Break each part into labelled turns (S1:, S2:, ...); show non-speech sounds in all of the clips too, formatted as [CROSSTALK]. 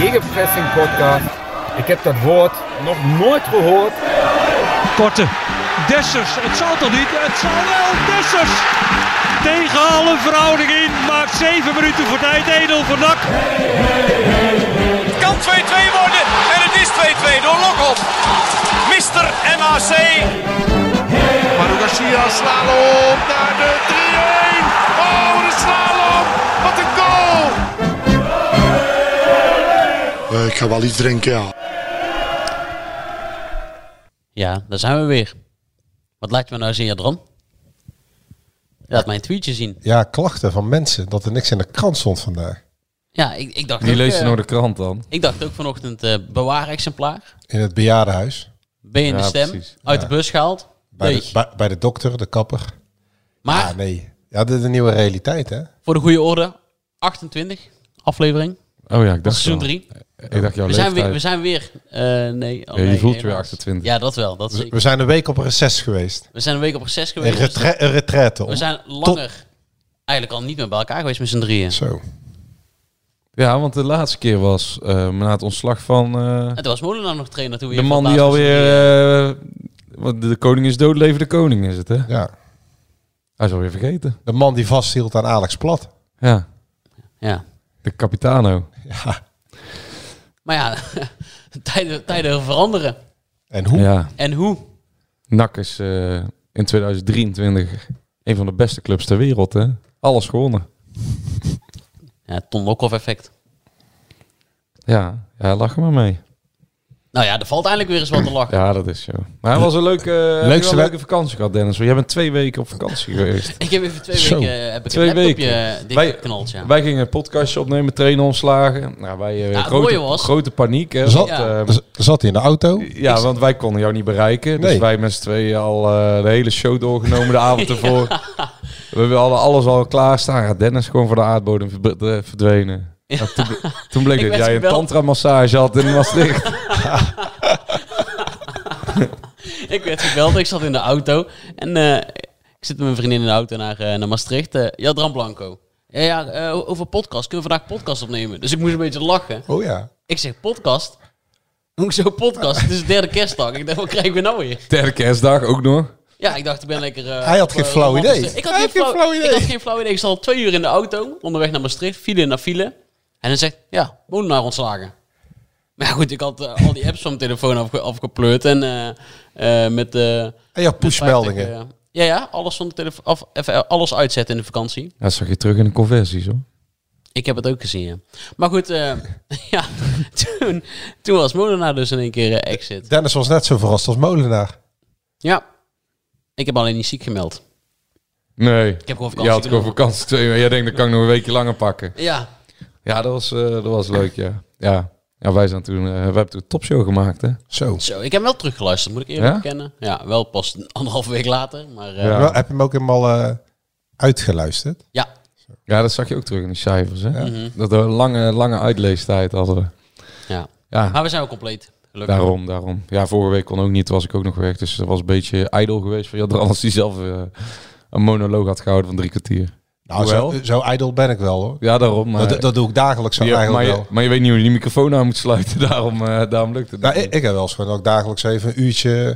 S1: Gegenpressing podcast. Ik heb dat woord nog nooit gehoord.
S2: Korte. Dessers. Het zal toch niet? Het zal wel. Dessers. Tegen alle verhouding in. Maakt 7 minuten voor tijd. Edel voor Nak.
S3: Het kan 2-2 worden en het is 2-2 door Lokop. Mister MAC. Maru Garcia slalom naar de 3-1. Oh, de slalom. Wat een goal.
S4: Eh, ik ga wel iets drinken, ja.
S5: Ja, daar zijn we weer. Wat laat je me nou zien, Jadran? Je laat mijn tweetje zien.
S6: Ja, klachten van mensen dat er niks in de krant stond vandaag.
S5: Ja, ik, ik dacht
S1: Die
S5: ook,
S1: lees je
S5: eh,
S1: nog de krant dan.
S5: Ik dacht ook vanochtend eh bewaarexemplaar.
S6: In het bejaardenhuis.
S5: Ben je in de
S1: Ja,
S5: stem?
S1: precies.
S5: Uit de bus gehaald?
S6: Bij,
S5: Nee.
S6: de, bij, bij de dokter, de kapper.
S5: Maar
S6: Ah, nee. Ja, dit is een nieuwe realiteit, hè?
S5: voor de goede orde, 28 aflevering
S1: Oh ja, ik
S5: van
S1: dacht
S5: seizoen
S1: wel.
S5: 3.
S1: Ik dacht jouw
S5: We zijn weer.
S1: leeftijd.
S5: We zijn weer eh, nee, oh
S1: Ja, je
S5: nee,
S1: voelt je weer
S5: helaas.
S1: 28.
S5: Ja, dat wel. Dat
S6: We,
S5: zeker.
S6: we zijn een week op reces geweest.
S5: We zijn een week op reces
S6: Een,
S5: geweest.
S6: retra een retraite.
S5: we zijn langer eigenlijk al niet meer bij elkaar geweest met z'n drieën.
S6: Zo.
S1: Ja, want de laatste keer was eh, na het ontslag van eh,
S5: Het was Molenaar nog trainer toen we
S1: de
S5: hier
S1: man
S5: voor
S1: die
S5: het laatst
S1: alweer...
S5: met z'n drieën-
S1: eh, want de koning is dood, leven de koning is het, hè?
S6: Ja.
S1: Hij is alweer vergeten.
S6: De man die vasthield aan Alex Plat.
S1: Ja,
S5: Ja.
S1: de capitano.
S6: Ja.
S5: Maar ja, [LAUGHS] tijden, tijden veranderen.
S6: En hoe?
S1: Ja,
S5: En hoe?
S1: NAC is eh, in 2023 een van de beste clubs ter wereld, hè? Alles gewonnen.
S5: Ja, Ton Lokhoff effect.
S1: Ja, ja lach er maar mee.
S5: Nou ja, er valt eindelijk weer eens wat te lachen.
S1: Ja, dat is zo. Maar hij was een leuke, heb je wel een
S6: wed-
S1: leuke vakantie gehad, Dennis. Want jij bent twee weken op vakantie geweest.
S5: Ik heb even twee
S6: Zo.
S5: weken, eh, heb ik
S1: Twee
S5: een laptopje
S1: weken. Wij-
S5: dichtgeknald, ja.
S1: Wij gingen een podcastje opnemen, trainen ontslagen. Nou, wij eh,
S5: het
S1: grote,
S5: mooie was-
S1: grote paniek. Hè,
S6: Zat,
S1: want,
S5: Ja.
S1: eh,
S6: z- Dus zat hij in de auto?
S1: ja, want wij konden jou niet bereiken. Dus
S6: Nee.
S1: wij met z'n tweeën al eh, de hele show doorgenomen de
S5: [LAUGHS]
S1: avond ervoor. We hadden alles al klaarstaan. Ja, Dennis gewoon voor de aardbodem verd- eh, verdwenen. Nou, toen, ble- toen
S5: [LAUGHS]
S1: bleek
S5: Ik
S1: dat
S5: werd
S1: jij een
S5: gebeld.
S1: tantra-massage had in
S5: [LAUGHS]
S1: Maastricht.
S5: Ik werd gebeld, ik zat in de auto. En eh, ik zit met mijn vriendin in de auto naar, eh, naar Maastricht. Eh, Jadran Blanco. Ja, ja eh, over podcast. Kunnen we vandaag podcast opnemen? Dus ik moest een beetje lachen.
S6: Oh ja.
S5: Ik zeg, podcast? Hoezo podcast? Het is de derde kerstdag. Ik dacht, wat krijgen we nou weer?
S1: Derde kerstdag ook nog.
S5: Ja, ik dacht, ik ben lekker... eh,
S6: Hij had
S5: op,
S6: geen
S5: eh,
S6: flauw
S5: op-
S6: idee.
S5: Ik had,
S6: Hij
S5: geen,
S6: had geen
S5: flauw,
S6: flauw
S5: Ik had
S6: idee.
S5: geen flauw idee. Ik zat al twee uur in de auto, onderweg naar Maastricht, file naar file. En dan zegt, ja, Molenaar ontslagen. Maar ja, goed, ik had eh, al die apps van mijn telefoon afge afgepleurd en eh, eh, met... eh,
S6: En jouw pushmeldingen.
S5: met 50, eh, ja, ja, alles van de telefoon, af, even, eh, alles uitzetten in de vakantie.
S1: Ja, dat zag je terug in de conversies hoor.
S5: Ik heb het ook gezien, ja. Maar goed, eh, [LAUGHS] ja, toen, toen was Molenaar dus in één keer eh, exit.
S6: Dennis was net zo verrast als Molenaar.
S5: Ja, ik heb alleen niet ziek gemeld.
S1: Nee.
S5: Ik heb gewoon vakantie
S1: Je had gewoon
S5: genomen.
S1: vakantie twee weken. Jij denkt, dat kan ik nog een weekje langer pakken.
S5: Ja,
S1: Ja, dat was, eh, dat was leuk, ja. ja. Ja, wij zijn toen, eh, wij hebben toen een topshow gemaakt, hè.
S6: Zo.
S5: Zo, ik heb wel teruggeluisterd, moet ik eerlijk
S1: Ja?
S5: bekennen. Ja, wel pas een anderhalf week later. Maar eh,
S1: Ja.
S5: ja.
S6: Wel, Heb je hem ook helemaal eh, uitgeluisterd?
S1: Ja, dat zag je ook terug in de cijfers, hè.
S6: Mhm.
S1: Dat we een lange, lange uitleestijd hadden we.
S5: ja.
S1: Ja,
S5: Maar we zijn wel compleet. Gelukkig.
S1: daarom, daarom. Ja, vorige week kon ook niet, toen was ik ook nog weg. Dus dat was een beetje ijdel geweest van Jadran als die zelf eh, een monoloog had gehouden van drie kwartier.
S6: Nou,
S1: Hoewel.
S6: zo, zo ijdel ben ik wel hoor.
S1: Ja, daarom. Maar,
S6: dat, dat doe ik dagelijks zo
S1: Ja, maar,
S6: eigenlijk
S1: je,
S6: wel.
S1: maar je weet niet hoe je die microfoon aan moet sluiten, [LAUGHS] daarom, eh daarom lukt het
S6: Nou,
S1: niet.
S6: ik, ik heb wel eens gewoon ook dagelijks even een uurtje
S1: Nou,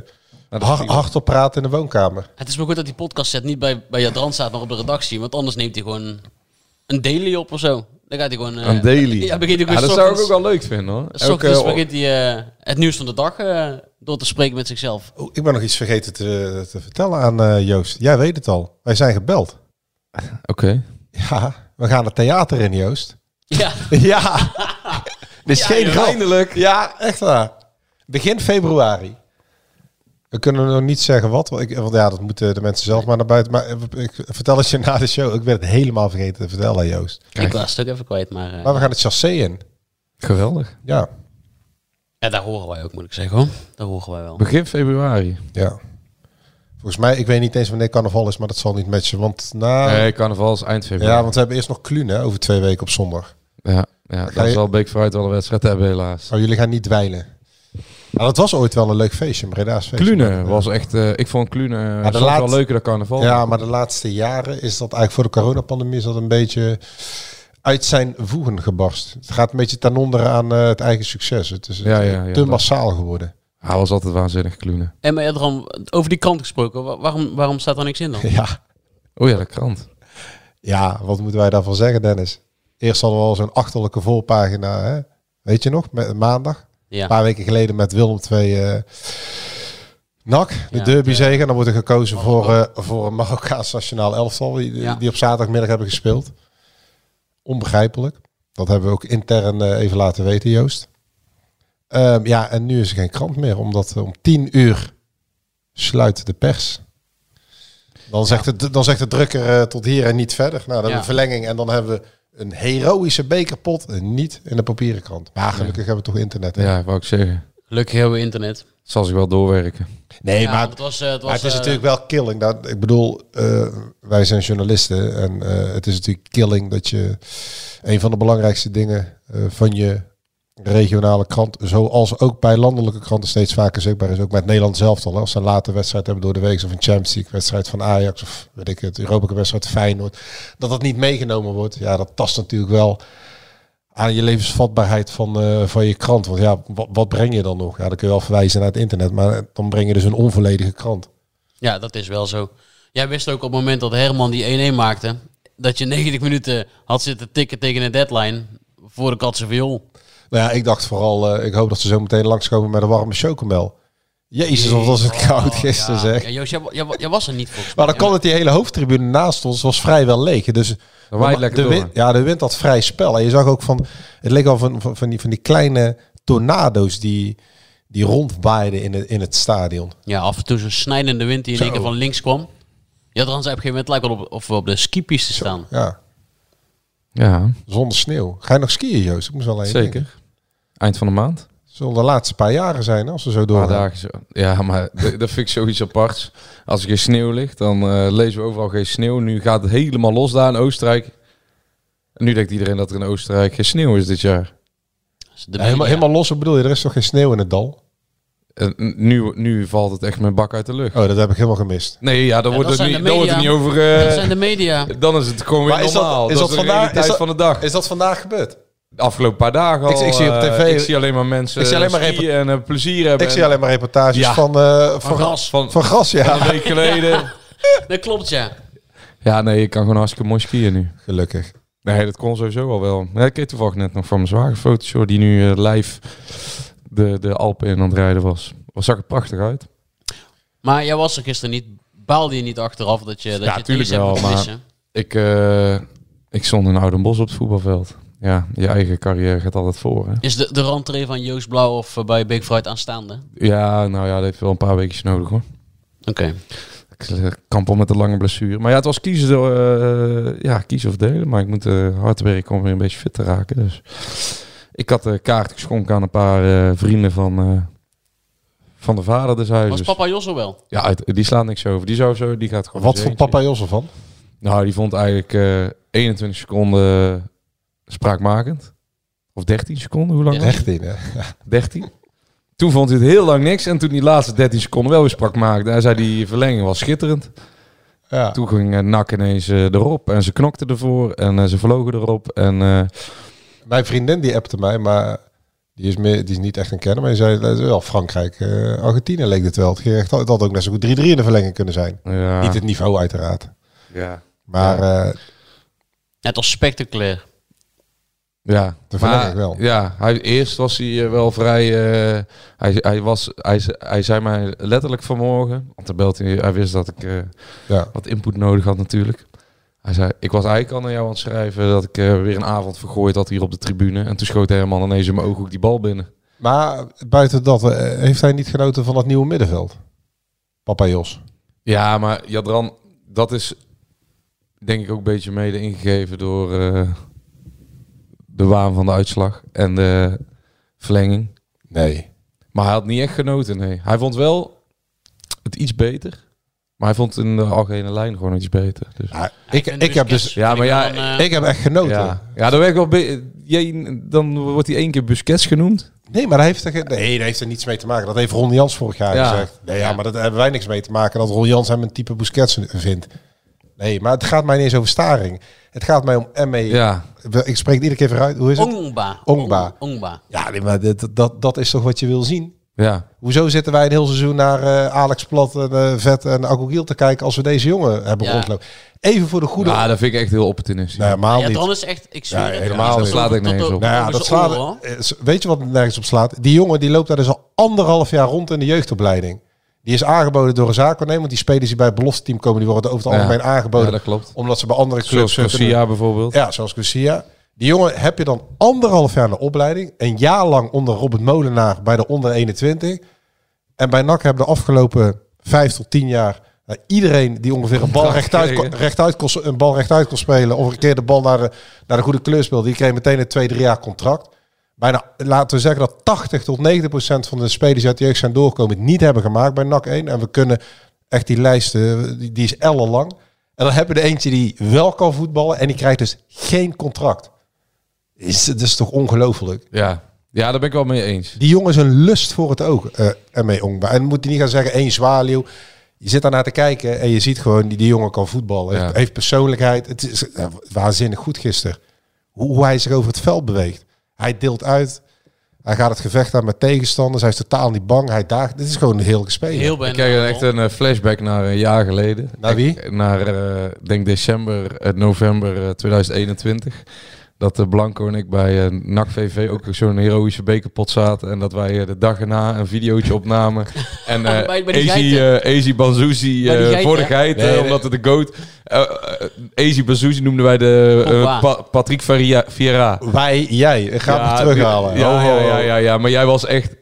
S1: dat
S6: hard, hardop praten in de woonkamer.
S5: Het is maar goed dat die podcast set niet bij, bij Jadran staat, maar op de redactie. Want anders neemt hij gewoon een daily op of zo. Dan gaat hij gewoon... eh,
S1: Een daily.
S5: Ja, begint hij gewoon
S1: dat
S5: s
S1: zou ik
S5: ochtends-
S1: ook wel leuk vinden hoor.
S5: s
S1: Elke,
S5: ochtends
S1: eh,
S5: begint hij eh, het nieuws van de dag eh, door te spreken met zichzelf. [LAUGHS]
S6: Oh, ik ben nog iets vergeten te, te vertellen aan eh, Joost. Jij weet het al. Wij zijn gebeld.
S1: Oké.
S6: Ja, we gaan het theater in, Joost.
S5: Ja,
S6: [LAUGHS] Ja. Dit is
S5: Ja,
S6: geen
S5: joh.
S6: grap.
S1: Eindelijk.
S6: Ja, echt waar. Begin februari. We kunnen nog niet zeggen wat, want, ik, want ja, dat moeten de mensen zelf maar naar buiten. Maar eh, ik, vertel het je na de show. Ik ben het helemaal vergeten te vertellen aan Joost.
S5: ik was het ook even kwijt, maar... eh,
S6: Maar we gaan het chassé in.
S1: Geweldig.
S6: Ja.
S5: Ja, daar horen wij ook, moet ik zeggen hoor. Daar horen wij wel.
S1: Begin februari.
S6: Ja. Volgens mij, ik weet niet eens wanneer carnaval is, maar dat zal niet matchen. Want na...
S1: Nee, carnaval is eind februari.
S6: ja, want we hebben eerst nog Kluun hè, over twee weken op zondag.
S1: Ja, ja
S6: Ga
S1: daar
S6: je-
S1: zal Beek vooruit wel een wedstrijd hebben helaas.
S6: Oh, jullie gaan niet dwijlen. Nou, dat was ooit wel een leuk feestje, een Breda's feestje.
S1: Klune
S6: Maar,
S1: was echt... eh, ik vond Klune eh, soms
S6: laat-
S1: wel leuker dan carnaval.
S6: Ja, maar de laatste jaren is dat eigenlijk voor de coronapandemie is dat een beetje uit zijn voegen gebarst. Het gaat een beetje ten onder aan eh, het eigen succes. Het is eh,
S1: Ja, ja, ja,
S6: te
S1: dat-
S6: massaal geworden. [LAUGHS]
S1: Hij was altijd waanzinnig, Klune.
S5: En maar ja, Bram, over die krant gesproken, wa- waarom, waarom staat er niks in dan?
S6: Ja.
S1: Oh ja, de krant.
S6: ja, wat moeten wij daarvan zeggen, Dennis? Eerst hadden we al zo'n achterlijke volpagina, hè? weet je nog, met maandag.
S5: Ja.
S6: Een paar weken geleden met Willem 2 eh NAC, de
S5: Ja,
S6: derby zegen. Dan wordt er gekozen voor, eh, voor een Marokkaans nationaal elftal, die,
S5: Ja.
S6: die op zaterdagmiddag hebben gespeeld. Onbegrijpelijk. Dat hebben we ook intern eh, even laten weten, Joost. Ehm, ja, en nu is er geen krant meer, omdat eh, om tien uur sluit de pers. Dan zegt, de, dan zegt de drukker eh, tot hier en niet verder. Nou, dan hebben we
S5: Ja.
S6: verlenging en dan hebben we een heroïsche bekerpot. En niet in de papieren krant. Maar gelukkig hebben we toch internet. hè?
S1: Ja, wou ik zeggen.
S5: Gelukkig hebben we internet.
S1: Zal zich wel doorwerken.
S6: Nee,
S5: Ja,
S6: maar
S5: want het was, eh, het was,
S6: maar het is
S5: eh,
S6: natuurlijk wel killing. Dat, ik bedoel, eh, wij zijn journalisten en eh, het is natuurlijk killing dat je een van de belangrijkste dingen eh, van je regionale krant, zoals ook bij landelijke kranten steeds vaker zichtbaar is, ook met Nederland zelf al. Als ze een late wedstrijd hebben door de week, of een Champions League wedstrijd van Ajax, of weet ik het, Europa Cup wedstrijd Feyenoord, dat dat niet meegenomen wordt. Ja, dat tast natuurlijk wel aan je levensvatbaarheid van, eh, van je krant. Want ja, wat, wat breng je dan nog? Ja, dan kun je wel verwijzen naar het internet, maar dan breng je dus een onvolledige krant.
S5: Ja, dat is wel zo. Jij wist ook op het moment dat Herman die 1-1 maakte, dat je 90 minuten had zitten tikken tegen een deadline voor de katse viool.
S6: Nou ja, ik dacht vooral, eh, ik hoop dat ze zo meteen langskomen met een warme chocomel. Jezus, wat was het
S1: Oh,
S6: koud gisteren
S5: Oh, ja.
S6: zeg.
S5: Ja, Joost, jij, wa- jij wa- jij was er niet volgens
S6: Maar
S5: mij.
S6: dan kwam het die hele hoofdtribune naast ons, was vrijwel leeg. Dus
S1: Dan waait het lekker
S6: de
S1: door.
S6: wind, ja, de wind had vrij spel. En je zag ook van, het leek al van, van, van die, van die kleine tornado's die, die rondwaaiden in het, in het stadion.
S5: Ja, af en toe zo'n snijdende wind die in één
S6: Zo.
S5: keer van links kwam. Ja, dan zei op een gegeven moment lijkt wel op, of we op de skipiste staan.
S6: Ja,
S1: Ja,
S6: zonder sneeuw. Ga je nog skiën, Joost? Ik moest wel even denken.
S1: zeker. Eind van de maand.
S6: Zullen de laatste paar jaren zijn, hè, als we zo
S1: Een paar
S6: doorgaan.
S1: dagen zo. Ja, maar [LAUGHS] d- dat vind ik zoiets aparts. Als er geen sneeuw ligt, dan eh, lezen we overal geen sneeuw. Nu gaat het helemaal los daar in Oostenrijk. En nu denkt iedereen dat er in Oostenrijk geen sneeuw is dit jaar.
S5: Dus de
S6: Ja, helemaal,
S5: media-
S6: helemaal los, wat bedoel je? Er is toch geen sneeuw in het dal?
S1: En nu, nu valt het echt met bak uit de lucht.
S6: Oh, dat heb ik helemaal gemist.
S1: Nee, ja, dan,
S5: Ja,
S1: wordt,
S5: dat zijn
S1: het niet,
S5: de
S1: dan wordt het niet
S5: media.
S1: over... eh,
S5: Dat zijn de media.
S1: Dan is het gewoon weer
S6: Maar is dat-
S1: normaal.
S6: is
S1: dat,
S6: dat
S1: is de
S6: vandaag-
S1: realiteit
S6: is dat-
S1: van de dag.
S6: Is dat vandaag gebeurd?
S1: De afgelopen paar dagen al.
S6: Ik- ik zie op
S1: eh,
S6: tv
S1: ik zie alleen maar mensen
S6: ik zie alleen maar
S1: skiën en eh, plezier hebben.
S6: Ik zie alleen maar reportages
S1: Ja.
S6: van, eh, van, van,
S5: gras.
S1: Van, van
S6: gras, ja.
S1: een week
S6: [LAUGHS]
S1: geleden. Ja.
S5: Dat klopt, ja.
S1: nee, ik kan gewoon hartstikke mooi skiën nu.
S6: Gelukkig.
S1: Nee, dat kon sowieso al wel. Ja, ik kreeg toevallig net nog van mijn zwager foto's, joh, die nu eh, live de, de Alpen in aan het rijden was. Wat zag er prachtig uit.
S5: Maar jij was er gisteren niet. Baalde je niet achteraf dat je, dat je het
S1: tuurlijk
S5: eens hebt
S1: wel,
S5: moeten
S1: maar-
S5: missen?
S1: Ik, eh, ik stond in Oudenbos op het voetbalveld. Ja, je eigen carrière gaat altijd voor, hè?
S5: Is de, de rentree van Joost Blauw of eh, bij Big Fruit aanstaande?
S1: Ja, nou ja, dat heeft wel een paar weekjes nodig, hoor.
S5: Oké.
S1: Ik eh, kamp al met een lange blessure. Maar ja, het was kiezen, eh, ja, kiezen of delen. Maar ik moet eh, hard werken om weer een beetje fit te raken. Dus ik had de kaart geschonken aan een paar eh, vrienden van, eh, van de vader des
S5: Was
S1: huizes.
S5: papa Jos er wel?
S1: Ja, uit- die slaat niks over. Die zou zo, die gaat gewoon.
S6: Wat
S1: voor
S6: vond papa Jos ervan?
S1: Nou, die vond eigenlijk eh, 21 seconden eh, spraakmakend. Of 13 seconden, hoe lang? was het?
S6: Echt in, hè?
S1: 13. Toen vond hij het heel lang niks. En toen die laatste 13 seconden wel weer spraakmakend. Hij zei die verlenging was schitterend.
S6: Ja.
S1: Toen ging eh, NAC ineens eh, erop. En ze knokten ervoor. En eh, ze vlogen erop. En eh,
S6: Mijn vriendin die appte mij, maar die is, meer, die is niet echt een kenner. Maar je zei, dat is wel Frankrijk, eh, Argentinië leek dit wel. Het ging echt- Het had ook net zo goed 3-3 in de verlenging kunnen zijn.
S1: ja,
S6: Niet het niveau uiteraard.
S1: ja.
S6: Maar eh,
S5: Het was spectaculair.
S1: Ja,
S6: De verlenging wel.
S1: Ja, hij, eerst was hij eh, wel vrij. eh, hij, hij, was, hij, ze- hij zei mij letterlijk vanmorgen. Want hij, belt, hij wist dat ik eh,
S6: ja.
S1: wat input nodig had, natuurlijk. Hij zei: Ik was eigenlijk al naar jou aan het schrijven. dat ik eh, weer een avond vergooid had hier op de tribune. En toen schoot helemaal ineens in mijn ooghoek die bal binnen.
S6: maar buiten dat, eh, heeft hij niet genoten van dat nieuwe middenveld? Papa Jos.
S1: Ja, maar Jadran, dat is denk ik ook een beetje mede ingegeven door eh, de waan van de uitslag en de verlenging.
S6: Nee.
S1: Maar hij had niet echt genoten, nee. Hij vond wel het iets beter. Maar hij vond in de algemene lijn gewoon iets beter. Dus.
S6: Ja, Ah, ik,
S5: vind
S6: ik heb
S5: Busquets
S6: dus...
S1: Ja,
S5: vind
S1: maar
S5: ik
S1: ja,
S5: wel een, eh,
S6: Ik heb echt genoten.
S1: Ja, ja dan, werd ik wel be- jij- dan wordt hij één keer Busquets genoemd.
S6: Nee, maar hij heeft er, geen- nee, daar heeft er niets mee te maken. Dat heeft Ron Jans vorig jaar
S1: Ja.
S6: gezegd. Nee, ja, maar daar hebben wij niks mee te maken. Dat Ron Jans hem een type Busquets vindt. Nee, maar het gaat mij niet eens over staring. Het gaat mij om ME.
S1: Ja.
S6: Ik spreek het iedere keer vooruit. Hoe is het?
S5: Ongba.
S6: Ongba.
S5: Ongba.
S6: Ja, nee, maar dit, dat, dat is toch wat je wil zien?
S1: Ja.
S6: Hoezo zitten wij een heel seizoen naar eh, Alex Plat en eh, Vet en Agogiel te kijken als we deze jongen hebben
S5: Ja.
S6: rondlopen? Even voor de goede...
S1: ja, dat vind ik echt heel opportunistisch.
S6: nee, helemaal
S5: Ja,
S6: niet.
S5: Dron is echt... Ik zweer
S6: Ja,
S5: het.
S6: helemaal
S5: Tot-
S6: niet.
S1: Slaat
S5: tot-
S1: ik nergens
S5: tot-
S1: op.
S5: tot-
S6: Nou ja,
S5: tot-
S6: dat
S5: tot-
S6: slaat,
S5: hoor.
S6: eh, weet je wat het nergens op slaat? Die jongen die loopt daar dus al anderhalf jaar rond in de jeugdopleiding. Die is aangeboden door een zaakwaarnemer. Want die spelers die bij het belofteteam komen, die worden over het
S1: Ja.
S6: algemeen aangeboden.
S1: Ja, dat klopt.
S6: Omdat ze bij andere clubs...
S1: Zoals Garcia bijvoorbeeld.
S6: Ja, zoals Garcia. Die jongen heb je dan anderhalf jaar in de opleiding. Een jaar lang onder Robert Molenaar bij de onder 21. En bij NAC hebben de afgelopen vijf tot tien jaar... eh, iedereen die ongeveer een bal
S1: Contract
S6: rechtuit, kon,
S1: gekregen.
S6: rechtuit, kon, een bal rechtuit kon spelen... of een keer de bal naar de, naar de goede kleur speelde... die kreeg meteen een twee, drie jaar contract. Bijna, laten we zeggen dat 80 tot 90 procent van de spelers die uit de jeugd zijn doorgekomen... het niet hebben gemaakt bij NAC 1. En we kunnen echt die lijst, eh, die, die is ellenlang. En dan hebben we er eentje die wel kan voetballen... en die krijgt dus geen contract. Is, dat is toch ongelooflijk?
S1: Ja. ja, daar ben ik wel mee eens.
S6: Die jongen is een lust voor het oog, eh ermee omgaan. En moet hij niet gaan zeggen, één zwaluw. Je zit daarnaar te kijken en je ziet gewoon, die, die jongen kan voetballen.
S1: Ja.
S6: Heeft, heeft persoonlijkheid. Het is eh, waanzinnig goed gisteren. Hoe, hoe hij zich over het veld beweegt. Hij deelt uit. Hij gaat het gevecht aan met tegenstanders. Hij is totaal niet bang. Hij daagt. Dit is gewoon een heerlijke speler.
S5: Heel ben.
S1: Ik krijg dan echt een eh, flashback naar een jaar geleden.
S6: Naar wie?
S1: Ik- naar, eh, ik denk december, eh, november eh, 2021. Dat eh, Blanco en ik bij eh NAC VV ook zo'n heroïsche bekerpot zaten. En dat wij eh, de dag erna een videootje
S5: [LAUGHS]
S1: opnamen. en eh
S5: Bij- bij die
S1: Ezi eh, Ezi Banzuzi
S5: Bij die
S1: eh,
S5: geiten.
S1: voor de geit,
S6: Nee, nee.
S1: omdat het de goat... eh eh, Ezi Banzuzi noemden wij de eh,
S5: Pogba.
S1: Pa- Patrick Faria- Vieira.
S6: Wij, jij. Ga
S1: Ja,
S6: hem terughalen. Oh,
S1: Ja,
S6: Ho, ho,
S5: Oh.
S1: ja,
S6: ho.
S1: ja, ja, ja, maar jij was echt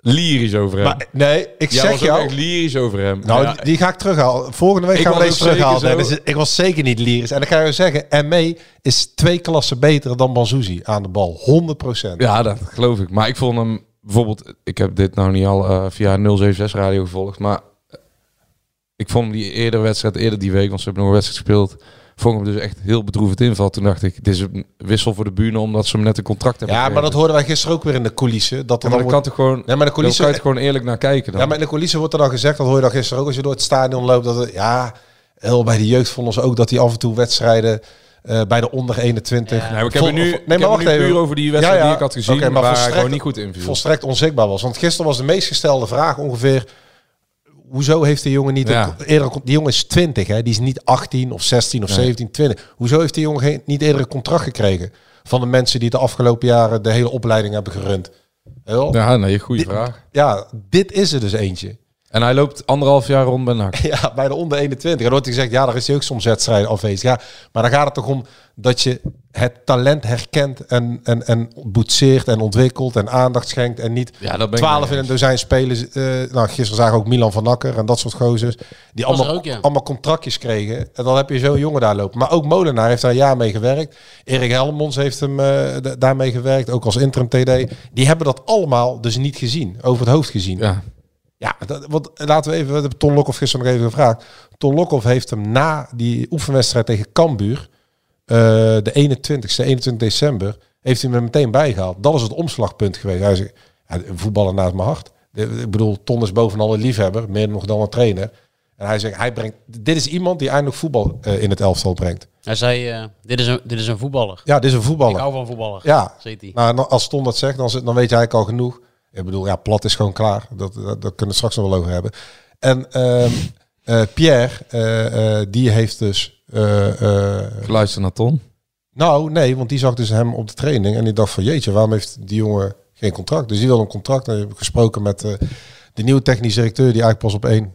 S1: lyrisch over hem.
S6: Maar, nee, ik
S1: jij
S6: zeg
S1: was ook
S6: jou.
S1: echt lyrisch over hem.
S6: Nou,
S1: Ja,
S6: die- die ga ik terughalen. Volgende week
S1: Ik
S6: gaan we
S1: was
S6: deze
S1: ook zeker
S6: terughalen. Nee,
S1: zo.
S6: dat is- ik was zeker niet lyrisch. En dan ga je zeggen, ME is twee klassen beter dan Banzuzi aan de bal. 100%.
S1: Ja, dat geloof ik. Maar ik vond hem bijvoorbeeld, ik heb dit nou niet al eh, via 076 radio gevolgd, maar ik vond hem die eerdere wedstrijd, eerder die week, want ze hebben nog een wedstrijd gespeeld, vond ik hem dus echt heel bedroevend inval. Toen dacht ik, dit is een wissel voor de bühne omdat ze hem net een contract hebben.
S6: Ja, maar dat
S1: gegeven.
S6: hoorden wij gisteren ook weer in de coulissen. Dat er
S1: Ja, maar
S6: dan
S1: dat
S6: wordt-
S1: kan toch gewoon,
S6: Ja, maar de
S1: daar kan je
S6: coulissen...
S1: toch gewoon eerlijk naar kijken dan.
S6: Ja, maar in de coulissen wordt er dan gezegd, dat hoor je dan gisteren ook als je door het stadion loopt, dat het, ja, heel bij de jeugd vonden ze ook dat die af en toe wedstrijden eh, bij de onder 21.
S1: Nee, maar ik heb
S6: Vol-
S1: het nu,
S6: vol-
S1: ik heb het nu puur over die wedstrijd
S6: Ja, ja.
S1: die ik had gezien,
S6: Oké,
S1: maar waar hij
S6: volstrekt-
S1: gewoon niet goed in viel.
S6: volstrekt onzichtbaar was. Want gisteren was de meest gestelde vraag ongeveer... Hoezo heeft die jongen niet...
S1: Ja.
S6: een- eerder, die jongen is 20, hè? die is niet 18 of 16 of
S1: Nee.
S6: 17, 20. Hoezo heeft die jongen geen, niet eerder een contract gekregen... van de mensen die de afgelopen jaren de hele opleiding hebben gerund? Heel? Ja.
S1: Ja, nee, goede vraag.
S6: dit is er dus eentje.
S1: En hij loopt anderhalf jaar rond bij NAC.
S6: [LAUGHS] Ja, bij de onder 21. En dan wordt hij gezegd, ja, daar is hij ook soms wedstrijden afwezig. Ja, maar dan gaat het toch om dat je het talent herkent en, en, en boetseert en ontwikkelt en aandacht schenkt. En niet
S1: Ja, dat ben ik
S6: twaalf
S1: mee
S6: in een
S1: eens.
S6: dozijn spelers. eh, nou, gisteren zagen we ook Milan van Akker en dat soort gozers. Die
S5: Was er
S6: allemaal,
S5: ook, ja.
S6: allemaal contractjes kregen. En dan heb je zo'n jongen daar lopen. Maar ook Molenaar heeft daar een jaar mee gewerkt. Erik Helmons heeft hem eh, da- daarmee gewerkt, ook als interim TD. Die hebben dat allemaal dus niet gezien, over het hoofd gezien.
S1: Ja,
S6: Ja, dat, want eh, laten we even, we hebben Ton Lokhoff gisteren nog even gevraagd. Ton Lokhoff heeft hem na die oefenwedstrijd tegen Cambuur, eh, de 21ste, 21 december, heeft hij hem er meteen bijgehaald. Dat is het omslagpunt geweest. Hij zegt, ja, voetballer naast mijn hart. De- Ik bedoel, Ton is bovenal een liefhebber, meer nog dan een trainer. En hij zegt, hij brengt, dit is iemand die eindelijk voetbal eh, in het elftal brengt.
S5: Hij zei, eh, dit, is een, dit is een voetballer.
S6: Ja, dit is een voetballer.
S5: Ik hou van voetballer.
S6: Ja,
S5: Zegt hij.
S6: nou, en als Ton dat zegt, dan, zit- dan weet je eigenlijk al genoeg. Ik bedoel, ja, plat is gewoon klaar. Dat, dat, dat kunnen we het straks nog wel over hebben. En ehm, eh, Pierre, eh, eh, die heeft dus... eh, eh,
S1: ik luister naar Ton.
S6: nou, nee, want die zag dus hem op de training. En die dacht van, jeetje, waarom heeft die jongen geen contract? Dus die wil een contract. En ik heb gesproken met eh, de nieuwe technisch directeur... die eigenlijk pas op 1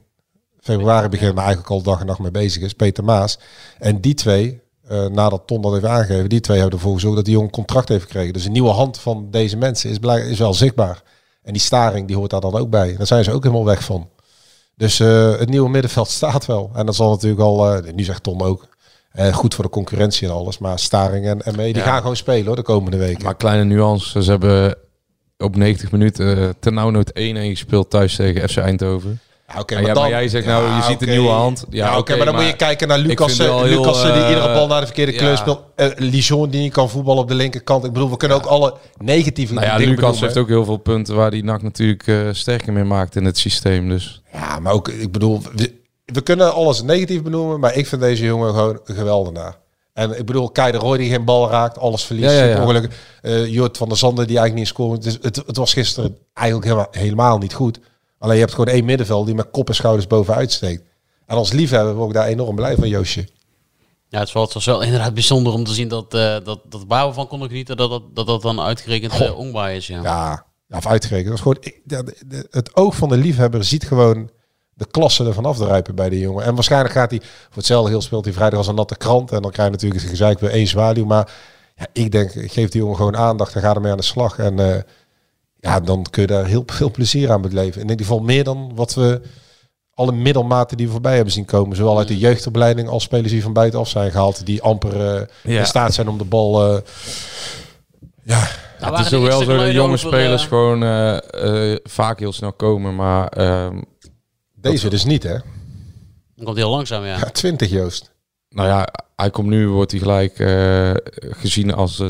S6: februari begint... maar eigenlijk al dag en nacht mee bezig is, Peter Maas. En die twee, eh, nadat Ton dat heeft aangegeven... die twee hebben ervoor gezorgd dat die jongen een contract heeft gekregen. Dus een nieuwe hand van deze mensen is, blijk- is wel zichtbaar. En die staring, die hoort daar dan ook bij. En daar zijn ze ook helemaal weg van. Dus eh, het nieuwe middenveld [LAUGHS] staat wel. En dat zal natuurlijk al, eh, nu zegt Tom ook, eh, goed voor de concurrentie en alles. Maar Staring en, en mee, die
S1: Ja.
S6: gaan gewoon spelen hoor, de komende weken.
S1: Maar kleine nuance, ze hebben op 90 minuten eh ten nauw nood 1-1 gespeeld thuis tegen FC Eindhoven.
S6: Ja, oké,
S1: Ja, Ah, ja, maar jij zegt nou, je ziet een
S6: oké.
S1: nieuwe hand. Ja,
S6: Ja, oké,
S1: oké,
S6: maar dan
S1: maar
S6: moet je kijken naar
S1: ik
S6: Lucas.
S1: vind het wel heel,
S6: Lucas die
S1: eh,
S6: iedere bal naar de verkeerde
S1: ja.
S6: kleur speelt. Eh, Lijon die niet kan voetballen op de linkerkant. Ik bedoel, we kunnen ook alle negatieve
S1: Nou ja,
S6: dingen
S1: Lucas
S6: benoemen.
S1: heeft ook heel veel punten waar die NAC natuurlijk eh, sterker mee maakt in het systeem. Dus
S6: Ja, maar ook, ik bedoel, we, we kunnen alles negatief benoemen, maar ik vind deze jongen gewoon een geweldenaar. En ik bedoel, Kei de Roy die geen bal raakt, alles verliest,
S1: Ja, ja, ja.
S6: super ongelukkig. Eh, Jort van der Zanden die eigenlijk niet scoort. Dus het, het was gisteren eigenlijk helemaal, helemaal niet goed. Alleen je hebt gewoon één middenveld die met kop en schouders bovenuit steekt. En als liefhebber ben ik daar enorm blij van, Joosje.
S5: Ja, het was, het was wel inderdaad bijzonder om te zien dat, eh dat, dat waar we van konden genieten, dat dat, dat, dat dan uitgerekend eh, Ongbaai is. Ja.
S6: Ja, ja of uitgerekend. Dat is gewoon, ik- ja, de- de- het oog van de liefhebber ziet gewoon de klasse ervan afdruipen bij die jongen. En waarschijnlijk gaat hij, voor hetzelfde heel speelt hij vrijdag als een natte krant. En dan krijg je natuurlijk het gezeik weer één zwaluw. Maar ja, ik denk, geef die jongen gewoon aandacht en ga ermee aan de slag. En eh, ja, dan kun je daar heel veel plezier aan beleven. In ieder geval meer dan wat we alle middelmaten die we voorbij hebben zien komen. Zowel uit de jeugdopleiding als spelers die van buitenaf zijn gehaald. Die amper eh,
S1: Ja.
S6: in staat zijn om de bal... eh, ja,
S5: Daar
S1: het
S5: waren
S1: is
S5: de
S1: wel
S5: eerste
S1: zo dat
S5: geluiden
S1: jonge
S5: over,
S1: spelers
S5: eh,
S1: gewoon eh, eh, vaak heel snel komen. Maar ehm,
S6: deze dus niet, hè?
S5: Dat komt heel langzaam, ja.
S6: Ja, 20 Joost.
S1: nou ja, hij komt nu, wordt hij gelijk eh, gezien als... eh,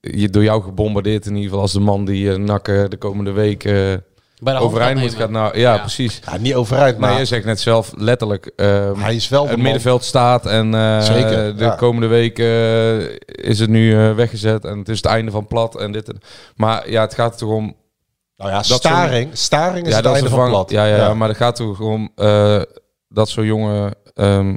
S1: je, door jou gebombardeerd in ieder geval als de man die eh NAC eh, de komende week eh,
S5: Bij de hand
S1: overeind moet
S5: nemen.
S1: gaan. Nou, ja,
S5: Ja.
S1: precies.
S6: Ja, niet overuit,
S1: Maar
S6: maar
S1: jij zegt net zelf letterlijk... ehm,
S6: hij is wel de
S1: het
S6: man.
S1: middenveld staat en eh,
S6: Zeker,
S1: de
S6: ja.
S1: komende week eh, is het nu eh, weggezet en het is het einde van plat en dit en maar ja het gaat er om
S6: Nou ja,
S1: dat
S6: staring. Staring is
S1: ja
S6: het einde van
S1: vervang-
S6: plat.
S1: ja, ja, ja, maar het gaat er om eh, dat zo'n jongen ehm,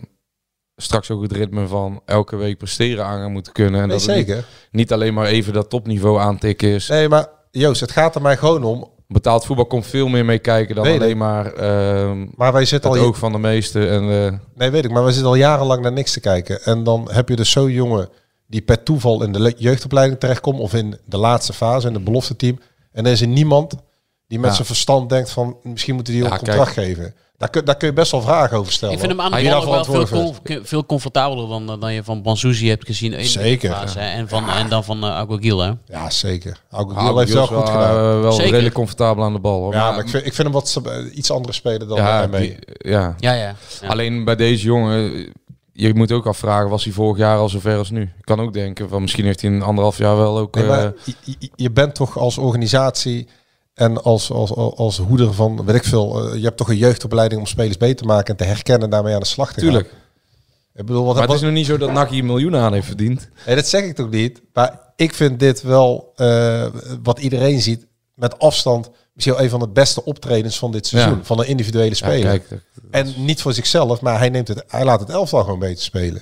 S1: straks ook het ritme van elke week presteren aan gaan moeten kunnen en
S6: Nee,
S1: dat het
S6: zeker.
S1: Niet, niet alleen maar even dat topniveau aantikken is
S6: Nee, maar Joost, het gaat er mij gewoon om.
S1: betaald voetbal komt veel meer mee kijken dan
S6: Nee, nee.
S1: alleen maar ehm,
S6: Maar wij zitten
S1: het
S6: al...
S1: oog van de meesten en eh,
S6: Nee, weet ik. Maar wij zitten al jarenlang naar niks te kijken. En dan heb je dus zo'n jongen die per toeval in de le- jeugdopleiding terechtkomt. Of in de laatste fase, in het belofte team. En er is er niemand die met
S1: Ja.
S6: zijn verstand denkt van... Misschien moeten die
S1: Ja,
S6: een contract geven. Daar kun, daar kun je best wel vragen over stellen.
S5: Ik vind hem aan de
S6: Wie
S5: bal
S6: daar
S5: ook wel veel,
S6: verantwoordelijk voor is.
S5: comf- veel comfortabeler dan, eh, dan je van Bansuzi hebt gezien. in de
S6: Zeker,
S5: fase, hè. En, van, en dan van eh Aguagiel, hè.
S6: Ja, zeker.
S1: Abiel
S6: Aguil heeft wel
S1: is
S6: goed
S1: eh,
S6: gedaan.
S1: wel
S5: Zeker.
S1: redelijk comfortabel aan de bal hoor.
S6: Ja,
S1: Maar-
S6: maar ik vind, ik vind hem wat stab- iets andere spelen dan
S1: ja,
S6: hij mee.
S1: die- ja.
S5: Ja, ja. ja.
S1: Alleen bij deze jongen, je moet ook afvragen, was hij vorig jaar al zover als nu? Ik kan ook denken, van misschien heeft hij in anderhalf jaar wel ook...
S6: Nee, maar
S1: eh,
S6: je- je, je bent toch als organisatie en als, als, als, als hoeder van, weet ik veel, eh, je hebt toch een jeugdopleiding om spelers beter te maken en te herkennen en daarmee aan de slag te
S1: tuurlijk.
S6: gaan. Ik bedoel, wat,
S1: Maar het
S6: wat,
S1: is nog niet zo dat Naki miljoenen aan heeft verdiend.
S6: nee, dat zeg ik toch niet. Maar ik vind dit wel, eh, wat iedereen ziet, met afstand misschien wel een van de beste optredens van dit seizoen.
S1: Ja.
S6: Van een individuele
S1: Ja,
S6: speler.
S1: kijk, dat-
S6: En niet voor zichzelf, maar hij, neemt het, hij laat het elftal gewoon beter spelen.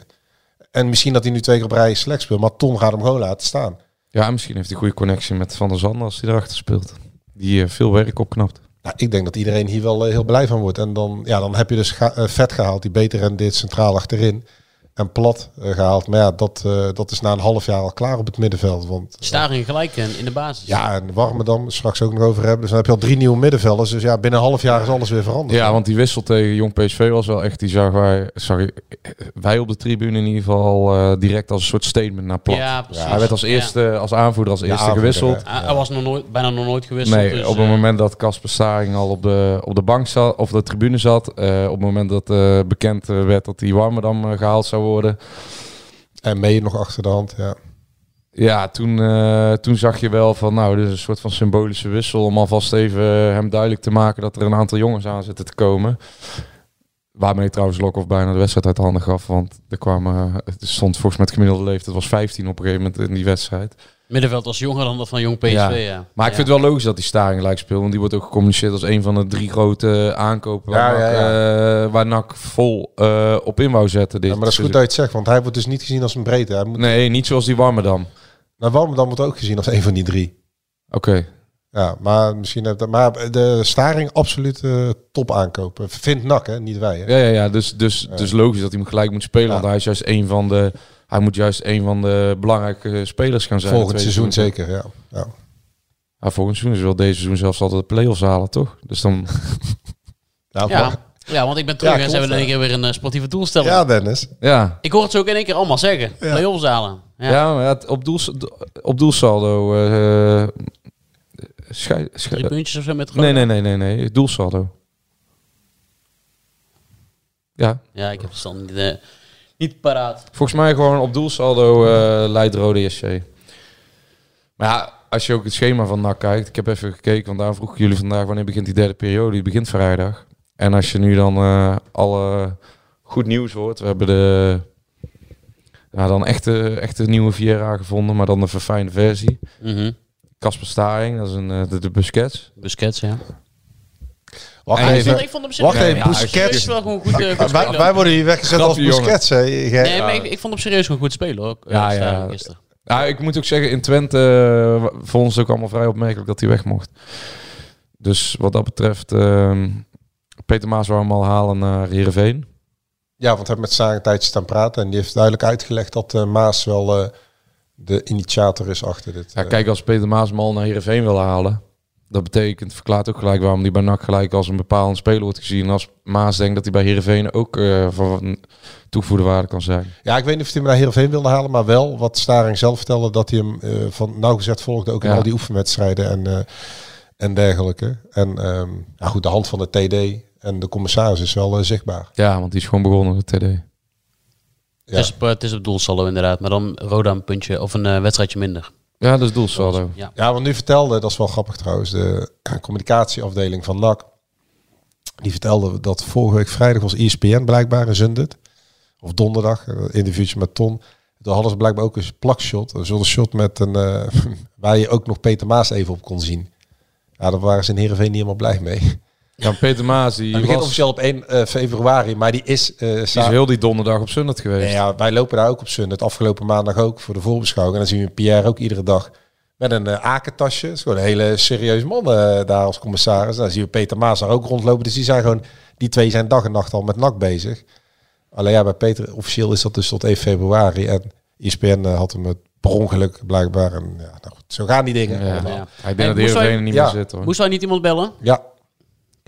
S6: En misschien dat hij nu twee keer op rij slecht speelt, maar Ton gaat hem gewoon laten staan.
S1: ja, misschien heeft hij een goede connectie met Van der Zanden als hij erachter speelt. Die eh, veel werk opknapt.
S6: Nou, ik denk dat iedereen hier wel eh, heel blij van wordt. En dan, ja, dan heb je dus ga- eh, vet gehaald, die beter rendeert centraal achterin. En plat eh, gehaald. Maar ja, dat, eh, dat is na een half jaar al klaar op het middenveld. Want
S5: Staring gelijk in, in de basis.
S6: ja, en warme dan straks ook nog over hebben. Dus dan heb je al drie nieuwe middenvelders. Dus ja, binnen een half jaar is alles weer veranderd.
S1: Ja, want die wissel tegen Jong PSV was wel echt, die zag wij, sorry, wij op de tribune in ieder geval eh, direct als een soort statement naar plat.
S5: Ja, precies.
S1: hij werd als eerste, als aanvoerder, als eerste
S6: aanvoerder,
S1: gewisseld.
S5: Ja. Hij- hij was nog nooit, bijna nog nooit gewisseld.
S1: Nee,
S5: dus,
S1: op
S5: eh,
S1: het moment dat Casper Staring al op de, op de bank zat, of de tribune zat, eh, op het moment dat eh, bekend eh, werd dat die Warmerdam eh, gehaald zou worden,
S6: En mee nog achter de hand. Ja.
S1: ja, toen, eh, toen zag je wel van, nou, dit is een soort van symbolische wissel om alvast even eh, hem duidelijk te maken dat er een aantal jongens aan zitten te komen. Waarmee trouwens Lokhoff bijna de wedstrijd uit de handen gaf, want er kwamen, eh, het stond volgens mij het gemiddelde leeftijd was 15 op een gegeven moment in die wedstrijd.
S5: Middenveld was jonger dan dat van jong PSV,
S1: Ja.
S5: ja.
S1: Maar ik
S5: Ja.
S1: vind het wel logisch dat die Staring gelijk speelt. Want die wordt ook gecommuniceerd als een van de drie grote aankopen waar,
S6: Ja,
S1: NAC,
S6: ja,
S1: eh, waar NAC vol eh, op in wou zetten. Dit
S6: Ja, maar dat is goed dat je
S1: seizoen.
S6: het zegt, want hij wordt dus niet gezien als een breedte. Hij moet,
S1: Nee, niet zoals die Warmerdam.
S6: Nou, warme dan wordt ook gezien als een van die drie.
S1: Oké.
S6: Ja, maar misschien heb dat. Maar de Staring absoluut eh, top aankopen. Vindt Nak, hè? Niet wij. Hè?
S1: Ja, ja, ja. Dus, dus, dus logisch dat hij hem gelijk moet spelen.
S6: Ja.
S1: Want hij is juist een van de... Hij moet juist een van de belangrijke eh, spelers gaan zijn.
S6: Volgend
S1: Tweede
S6: seizoen zeker. Ja. Ja.
S1: Ja, volgend seizoen is wel deze seizoen zelfs altijd de play-offs halen, toch? Dus dan... [LAUGHS]
S6: Nou,
S5: ja. ja, want ik ben terug
S6: Ja,
S5: en ze
S6: klopt,
S5: hebben in één
S6: ja.
S5: keer weer een eh, sportieve doelstelling.
S6: ja, Dennis.
S1: Ja.
S5: Ik hoor het ze ook in één keer allemaal zeggen. Play-offs halen. Ja.
S1: Ja, maar ja, het- op, doels, op doelsaldo eh, Schei, schei-
S5: Drie puntjes of zo met
S1: nee,
S5: Roda?
S1: nee, nee, nee, nee. Doelsaldo. Ja,
S5: Ja, ik heb het stand niet, eh, niet paraat.
S1: volgens mij gewoon op doelsaldo eh leidt Rode SC. Maar ja, als je ook het schema van NAC kijkt. Ik heb even gekeken, want daar vroeg ik jullie vandaag wanneer begint die derde periode. Die begint vrijdag. En als je nu dan eh, alle goed nieuws hoort. We hebben de... Nou, dan echt de, echt de nieuwe Viera gevonden, maar dan de verfijnde versie.
S5: Mhm.
S1: Casper Staring, dat is een, eh, de, de Busquets.
S5: Busquets, ja.
S6: Wacht
S1: Hey,
S6: even.
S5: Want ik vond hem op zich
S6: Wacht
S5: wel-
S6: even,
S1: ja,
S5: serieus
S6: Busquets.
S5: wel gewoon goed, eh, goed
S6: Wij,
S5: spelen.
S6: wij worden hier weggezet als
S1: Knappe jongen.
S6: Busquets. Hè. Jij-
S5: Nee, maar ik, ik vond hem serieus gewoon goed spelen hoor. eh,
S1: Ja, ja.
S5: Staring Gisteren.
S1: Nou, ik moet ook zeggen, in Twente eh, vond ons ook allemaal vrij opmerkelijk dat hij weg mocht. Dus wat dat betreft, ehm, Peter Maas wou hem al halen naar Heerenveen.
S6: Ja, want hij heeft met Saar een tijdje staan praten. En die heeft duidelijk uitgelegd dat eh, Maas wel eh, de initiator is achter dit.
S1: Ja,
S6: eh,
S1: kijk, als Peter Maas hem al naar Heerenveen wil halen, dat betekent, verklaart ook gelijk waarom hij bij NAC gelijk als een bepaalde speler wordt gezien. En als Maas denkt dat hij bij Heerenveen ook eh, van toegevoegde waarde kan zijn.
S6: Ja, ik weet niet of hij hem naar Heerenveen wilde halen, maar wel wat Staring zelf vertelde, dat hij hem eh, van nauwgezet volgde, ook in
S1: Ja.
S6: al die oefenwedstrijden en, eh, en dergelijke. En ehm, ja, goed, de hand van de TD en de commissaris is wel eh, zichtbaar.
S1: Ja, want die is gewoon begonnen met TD.
S6: Ja.
S5: Het, is op, eh, het is op doelsaldo inderdaad, maar dan Roda een puntje of een eh, wedstrijdje minder.
S1: Ja, dat is doelsaldo.
S5: Ja.
S6: Ja, want nu vertelde, dat is wel grappig trouwens, de communicatieafdeling van NAC. Die vertelde dat vorige week vrijdag was E ESPN blijkbaar in Zundert. Of donderdag, een interviewtje met Ton. Toen hadden ze blijkbaar ook een plakshot. Een soort shot met een, eh, [LAUGHS] waar je ook nog Peter Maas even op kon zien. Ja, daar waren ze in Heerenveen niet helemaal blij mee.
S1: Ja, Peter Maas, die
S6: Die begint
S1: was,
S6: officieel op 1 eh, februari, maar die is... eh,
S1: die is
S6: sa-
S1: heel die donderdag op Sunderland geweest.
S6: Nee, ja, wij lopen daar ook op Sun. Het afgelopen maandag ook voor de voorbeschouwing. En dan zien we Pierre ook iedere dag met een eh, akentasje. Het is gewoon een hele serieus man eh, daar als commissaris. En dan zien we Peter Maas daar ook rondlopen. Dus die zijn gewoon, die twee zijn dag en nacht al met NAC bezig. Alleen ja, bij Peter officieel is dat dus tot 1 februari. En ESPN eh, had hem het per ongeluk blijkbaar. En, ja, nou goed, zo gaan die dingen.
S1: Ja.
S6: allemaal.
S5: Ja.
S1: Hij
S5: Hey,
S1: denkt dat
S5: moest
S1: Heerenveen
S5: wij-
S1: er niet
S6: Ja.
S1: meer zit hoor.
S5: Moesten wij niet iemand bellen? Oké,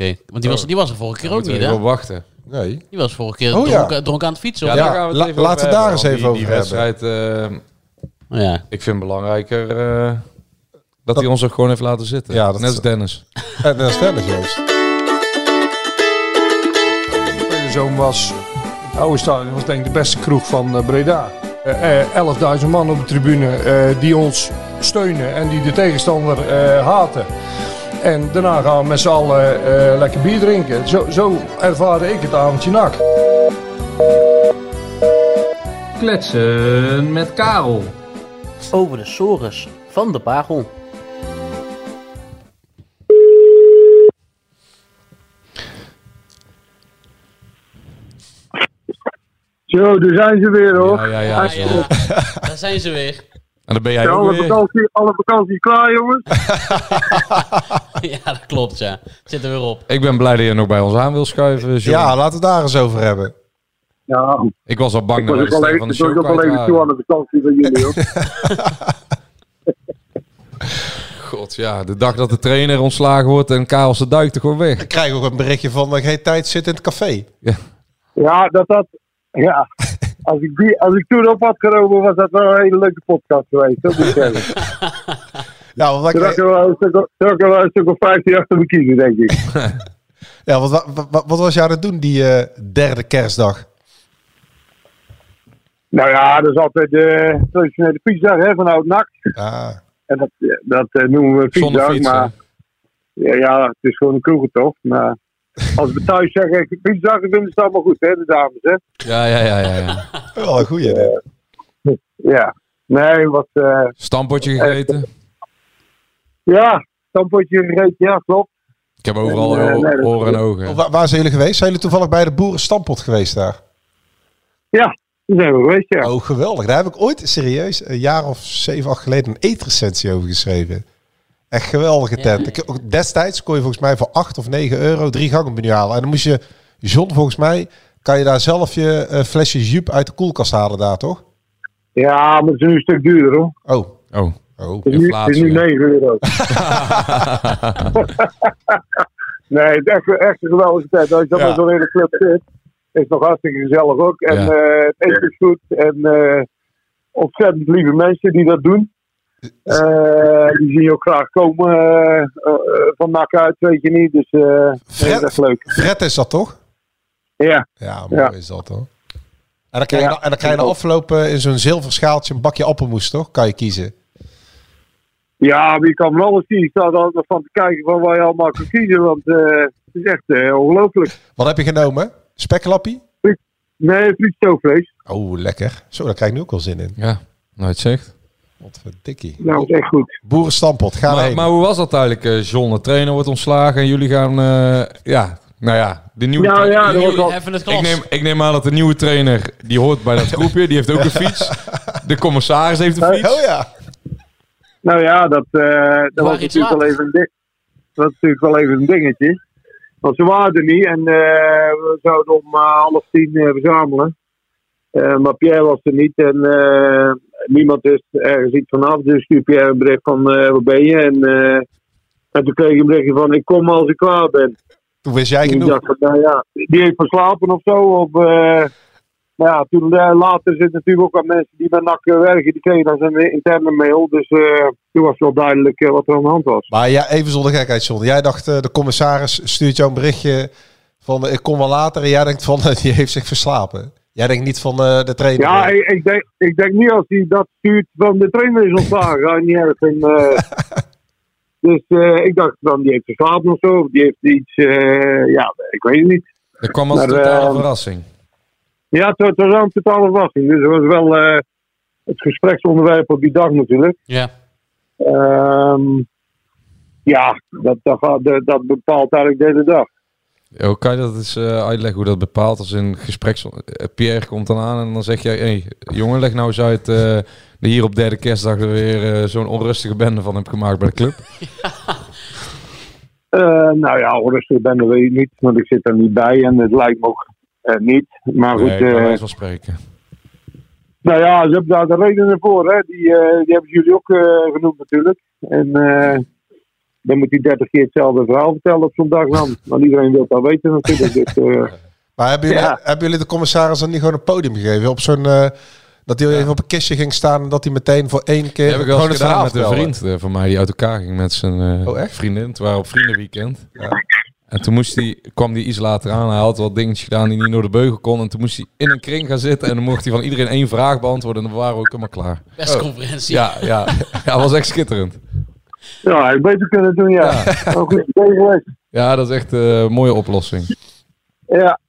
S6: ja.
S5: want die was, die was er vorige keer ook
S1: Moeten we
S5: niet hè?
S1: even op wachten.
S6: Nee.
S5: Die was vorige keer
S6: Oh, ja.
S5: dronken, dronken aan het fietsen.
S6: Ja,
S5: hoor.
S6: daar gaan we het la- even laten we over daar hebben, eens want even
S1: die
S6: die- over die
S1: wedstrijd, eh,
S5: Oh, ja.
S1: ik vind belangrijker eh, dat hij ons ook gewoon heeft laten zitten.
S6: Ja, dat
S1: Net
S6: Net
S1: als
S6: als
S1: Dennis.
S6: En dan verder Joost.
S2: De zoon was, het oude stadion was denk ik de beste kroeg van eh, Breda. Eh, eh, 11.000 man op de tribune eh, die ons steunen en die de tegenstander eh, haten. En daarna gaan we met z'n allen eh, lekker bier drinken. Zo, zo ervaarde ik het avondje nak.
S7: Kletsen met Karel.
S8: Over de sores van de Bagel.
S2: Zo, daar zijn ze weer
S1: Ja, ja, ja.
S5: Ah, ja. [LAUGHS] Daar zijn ze weer.
S1: En dan ben jij ook weer.
S2: alle vakantie klaar jongens.
S5: ja, dat klopt ja. Zit er weer op.
S1: Ik ben blij dat je nog bij ons aan wil schuiven, John.
S6: Ja, laten we het daar eens over hebben.
S2: Ja,
S1: Ik was al bang dat we de stem van de show kwijt waren.
S2: de vakantie van jullie
S1: [LAUGHS]
S2: hoor.
S1: God, ja. De dag dat de trainer ontslagen wordt en Karels de Duik er gewoon weg.
S6: Ik krijg ook een berichtje van eh, geen tijd zit in het café.
S2: Ja, dat dat. Ja. Als ik, die, als ik toen op had geroepen, was dat wel een hele leuke podcast geweest. Dat moet ik zeggen.
S6: Ja, want wij
S2: Toen had
S6: kregen-
S2: ik er wel een stuk of- toen had ik er wel een stuk of 15 achter me kiezen, denk
S1: [LAUGHS]
S2: ik.
S6: Ja, wat, wat, wat, wat was jij aan het doen die eh, derde kerstdag?
S2: Nou ja, dat is altijd de traditionele fietsdag hè, van oud NAC.
S6: Ah,
S2: En dat, dat eh, noemen we
S1: Zonder
S2: fietsdag.
S1: fietsen.
S2: Maar ja, ja, het is gewoon een kroegentocht.
S1: [LAUGHS]
S2: Maar als we thuis zeggen fietsdag, dan vinden ze het allemaal goed, hè, de dames. Hè?
S1: Ja, ja, ja, ja. ja.
S6: wel een goeie. dit.
S2: Ja. Nee, wat. eh,
S1: Stampotje gegeten.
S2: ja, stampotje gegeten, ja, klopt.
S1: Ik heb overal
S2: Eh, nee, dat-
S1: oren en
S6: Of
S1: ogen.
S6: Waar, waar zijn jullie geweest? Zijn jullie toevallig bij de boerenstampot geweest daar?
S2: Daar zijn we geweest, ja.
S6: Oh, geweldig. Daar heb ik ooit serieus een jaar of zeven, acht geleden een eetrecensie over geschreven. Echt geweldige tent. Ik- ook Destijds kon je volgens mij voor 8 of 9 euro drie gangenmenu halen. En dan moest je, John, volgens mij, kan je daar zelf je eh, flesje jup uit de koelkast halen daar, toch?
S2: Ja, maar het is nu een stuk duurder hoor.
S6: Oh,
S1: Oh.
S6: oh.
S2: Het is nu, het is
S1: Inflatie,
S2: nu
S1: hè?
S2: 9 euro. [LAUGHS] nee, het is echt, echt een geweldige tijd. Als je dan
S6: Ja.
S2: met zo'n hele club zit, is het nog hartstikke gezellig ook. En
S1: Ja.
S2: eh, het eten is goed. En eh, ontzettend lieve mensen die dat doen.
S1: Eh, die zie je ook graag komen eh, eh, van NAC uit, weet je niet. Dus eh, nee,
S6: Fred?
S1: dat is leuk.
S6: Fred is dat toch?
S1: Ja.
S6: Ja, mooi
S1: Ja.
S6: is dat hoor. En dan krijg je,
S1: Ja,
S6: en dan krijg je
S1: ik
S6: na
S1: ook.
S6: afloop eh, in zo'n zilver schaaltje een bakje appelmoes, toch? Kan je kiezen.
S1: Ja, maar je kan wel eens kiezen. Ik sta er altijd van te kijken van waar je allemaal kan kiezen. Want eh, het is echt eh, ongelooflijk.
S6: Wat heb je genomen? Speklappie?
S1: Nee, friet stoofvlees.
S6: Oh, lekker. Zo, daar krijg ik nu ook wel zin in.
S2: Ja, nooit Nou, zegt.
S6: Wat voor dikkie.
S1: Nou, het is echt goed.
S6: Boerenstampot, ga
S2: Maar,
S6: erheen.
S2: maar hoe was dat eigenlijk, eh, John? De trainer wordt ontslagen en jullie gaan... eh, ja, nou ja, de nieuwe...
S1: Nou
S2: tra-
S1: ja, dat was wel...
S5: Even het
S2: ik,
S5: glas.
S2: neem, ik neem aan dat de nieuwe trainer, die hoort bij dat groepje, die heeft ook een fiets. De commissaris heeft een
S6: Oh
S2: fiets.
S6: ja.
S1: Nou ja, dat, eh, dat was
S5: iets
S1: natuurlijk wel
S5: later.
S1: even een ding. Dat was natuurlijk wel even een dingetje. Want ze waren er niet en eh, we zouden om eh, half tien eh, verzamelen. Eh, maar Pierre was er niet en eh, niemand wist ergens iets vanaf. Dus stuurde Pierre een bericht van eh, waar ben je? En, eh, en toen kreeg ik een berichtje van ik kom als ik klaar ben.
S6: Toen wist jij
S1: Ik
S6: genoeg.
S1: dacht van, nou ja, die heeft verslapen of zo. Of, eh, nou ja, toen eh, later zitten natuurlijk ook aan mensen die bij NAC werken. Die kregen dan zijn interne mail. Dus eh, toen was wel duidelijk eh, wat er aan de hand was.
S6: Maar ja, even zonder gekheid, John. Jij dacht, eh, de commissaris stuurt jou een berichtje van eh, ik kom wel later. En jij denkt van, [LAUGHS] eh, die heeft zich verslapen. Jij denkt niet van eh, de trainer.
S1: Ja, ik, ik, denk, ik denk niet als hij dat stuurt van de trainer is ontslagen. Ga je niet erg in, eh. dus eh, ik dacht van die heeft verslapen of zo. Of die heeft iets, eh, ja, ik weet het niet.
S2: Dat kwam als een
S1: Maar,
S2: totale
S1: eh,
S2: verrassing.
S1: Ja, het, was- het was wel een totale verrassing. Dus het was wel eh, het gespreksonderwerp op die dag natuurlijk.
S5: Ja.
S1: Ehm, ja, dat, dat, gaat- dat, dat bepaalt eigenlijk de hele dag.
S2: Yo, kan je dat eens eh, uitleggen hoe dat bepaalt als in gespreks... eh, Pierre komt dan aan en dan zeg jij... hey, jongen, leg nou eens uit eh, dat je hier op derde kerstdag er weer eh, zo'n onrustige bende van hebt gemaakt bij de club.
S1: Eh, nou ja, rustig ben ik weet ik niet, want ik zit er niet bij en het lijkt me ook eh, niet. Maar goed,
S2: nee, bij
S1: eh,
S2: wijze van spreken.
S1: nou ja, ze hebben daar de redenen voor. Hè. Die, eh, die hebben jullie ook eh, genoemd natuurlijk. En eh, dan moet hij 30 keer hetzelfde verhaal vertellen op zondag dan. Want iedereen wil dat weten natuurlijk. Dus, eh,
S6: Maar hebben jullie,
S1: Ja.
S6: hebben jullie de commissaris dan niet gewoon een podium gegeven? Op zo'n, eh, dat hij even op een kistje ging staan en dat hij meteen voor één keer
S2: Dat heb ik wel
S6: gewoon
S2: eens gedaan met een
S6: vertelde?
S2: vriend eh, van mij die uit elkaar ging met zijn eh,
S6: Oh, echt?
S2: vriendin. Het waren op vriendenweekend. En toen moest hij, kwam hij iets later aan. Hij had wat dingetjes gedaan die niet door de beugel kon. En toen moest hij in een kring gaan zitten. En dan mocht hij van iedereen één vraag beantwoorden. En dan waren we ook helemaal klaar.
S5: Persconferentie.
S2: Ja, ja. ja dat was echt schitterend.
S1: ja, ik beter kunnen doen, ja. Maar goed idee geweest.
S2: Ja, dat is echt eh, een mooie oplossing.
S1: Ja,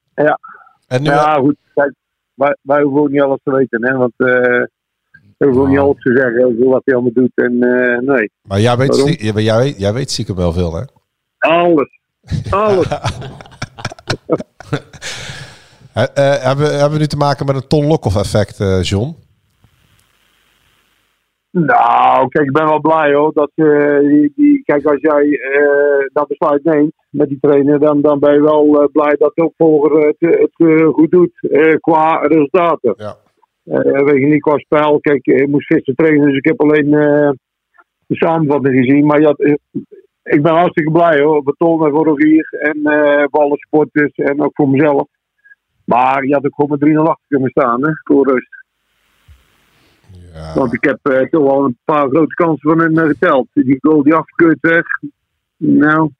S6: En nu,
S1: Ja, goed. Kijk, wij, wij hoeven ook niet alles te weten, hè. Want eh we hoeven ook niet alles te zeggen over wat hij allemaal doet. En eh, nee,
S6: Maar jij weet,
S1: Waarom?
S6: stie- ja, maar jij, weet- jij weet stiekem wel veel, hè?
S1: alles.
S2: [LAUGHS]
S1: Alles.
S6: He- eh, hebben, hebben we nu te maken met een Ton Lokhoff effect, eh, John?
S1: Nou, kijk, ik ben wel blij hoor. Dat, eh, die, die, kijk, als jij eh, dat besluit neemt met die trainer, dan, dan ben je wel eh, blij dat de opvolger het, het eh, goed doet eh, qua resultaten.
S6: Ja.
S1: Eh, weet je niet, qua spel. Kijk, eh, ik moest gisteren trainen, dus ik heb alleen eh, de samenvatting gezien. Maar ja, eh, ik ben hartstikke blij hoor. Voor Ton en voor Rogier en eh, voor alle supporters en ook voor mezelf. Maar je had ook gewoon met 3-0 achter kunnen staan, hè, voor rust.
S6: Ja.
S1: Want ik heb eh, toch wel een paar grote kansen van hem eh, geteld. Die goal die afgekeurd werd. Nou,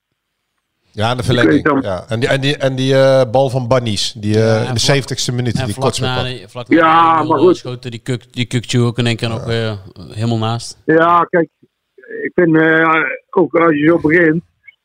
S6: Ja, de
S1: Ik weet
S6: verlenging.
S1: hem.
S6: Ja. En die, en die, en die eh, bal van Bannies, die eh, in
S5: vlak-
S6: de 70ste minuut,
S5: En
S6: die
S5: vlak
S6: kortschop.
S5: na,
S6: had.
S5: de- vlak na
S1: Ja,
S5: de 1-0
S1: maar goed.
S5: schoten die Kuk, die Kukçu ook in één keer nog eh, helemaal naast.
S1: ja, kijk. Ik vind, eh, ook als je zo begint.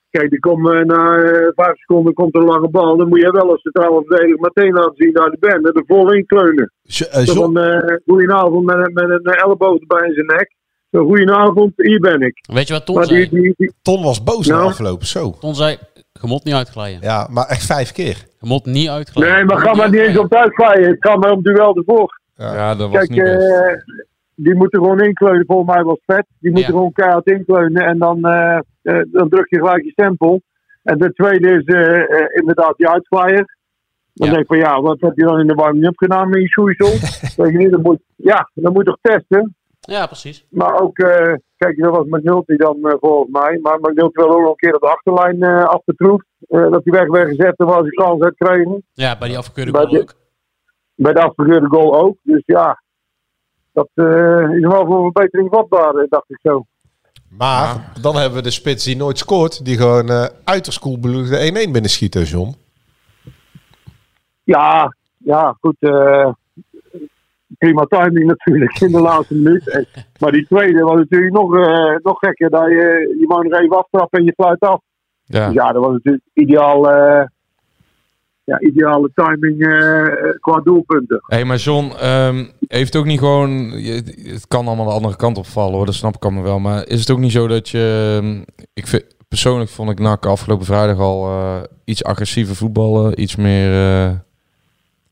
S1: Kijk, er komt, eh, na eh, vijf seconden komt er een lange bal. Dan moet je wel als centrale verdediger meteen laten zien dat je bent. En er vol in kleunen.
S6: Jo- eh,
S1: Zo
S6: John,
S1: van, eh, goedenavond met, een- met een eh, elleboog erbij in zijn nek. Zo, goedenavond, hier ben ik.
S5: Weet je wat Ton
S1: Maar
S5: zei?
S1: die, die, die-
S6: Ton was boos na
S1: Nou.
S6: afloop, zo.
S5: Ton zei, je moet niet uitglijden.
S6: Ja, maar echt vijf keer.
S5: Je moet niet uitglijden.
S1: nee, maar
S5: Je
S1: ga
S5: moet
S1: maar niet eens op het uitglijden. Het gaat maar om duel ervoor.
S2: Ja, dat was
S1: Kijk,
S2: niet best.
S1: eh, die moeten gewoon inkleunen. Volgens mij was vet. Die moeten
S5: Ja.
S1: gewoon keihard inkleunen. En dan, eh, eh, dan druk je gelijk je stempel. En de tweede is eh, eh, inderdaad die uitflyer. Dan
S5: Ja.
S1: denk ik van ja, wat heb je dan in de warming-up gedaan met je
S2: [LAUGHS]
S1: schoeisel? Weet je niet, dat moet, ja, dat moet toch testen.
S5: Ja, precies.
S1: Maar ook, eh, kijk, dat was McNulty dan eh, volgens mij. Maar McNulty wil ook nog een keer op de achterlijn eh afgetroefd. Eh, dat hij weg werd gezet terwijl hij kans had gekregen.
S5: Ja, bij die afgekeurde
S1: Bij
S5: goal
S1: de-
S5: ook.
S1: Bij de afgekeurde goal ook. Dus ja, Dat eh, is wel voor verbetering vatbaar, eh, dacht ik zo.
S6: Maar dan hebben we de spits die nooit scoort. Die gewoon eh uiterst koelbloedig de 1-1 binnen schiet, hè, John.
S1: Ja, ja, goed. eh, prima timing natuurlijk in de laatste minuut. En- Maar die tweede was natuurlijk nog, eh, nog gekker. Dat je, je mag nog even aftrappen en je fluit af.
S2: Ja.
S1: Dus ja, dat was natuurlijk ideaal, eh, ja, ideale timing eh, qua doelpunten.
S2: Hé, maar John, ehm, heeft het ook niet gewoon... je- Het kan allemaal de andere kant opvallen hoor, dat snap ik allemaal wel. Maar is het ook niet zo dat je... ehm, Ik vind, persoonlijk vond ik NAC afgelopen vrijdag al eh, iets agressiever voetballen. Iets meer eh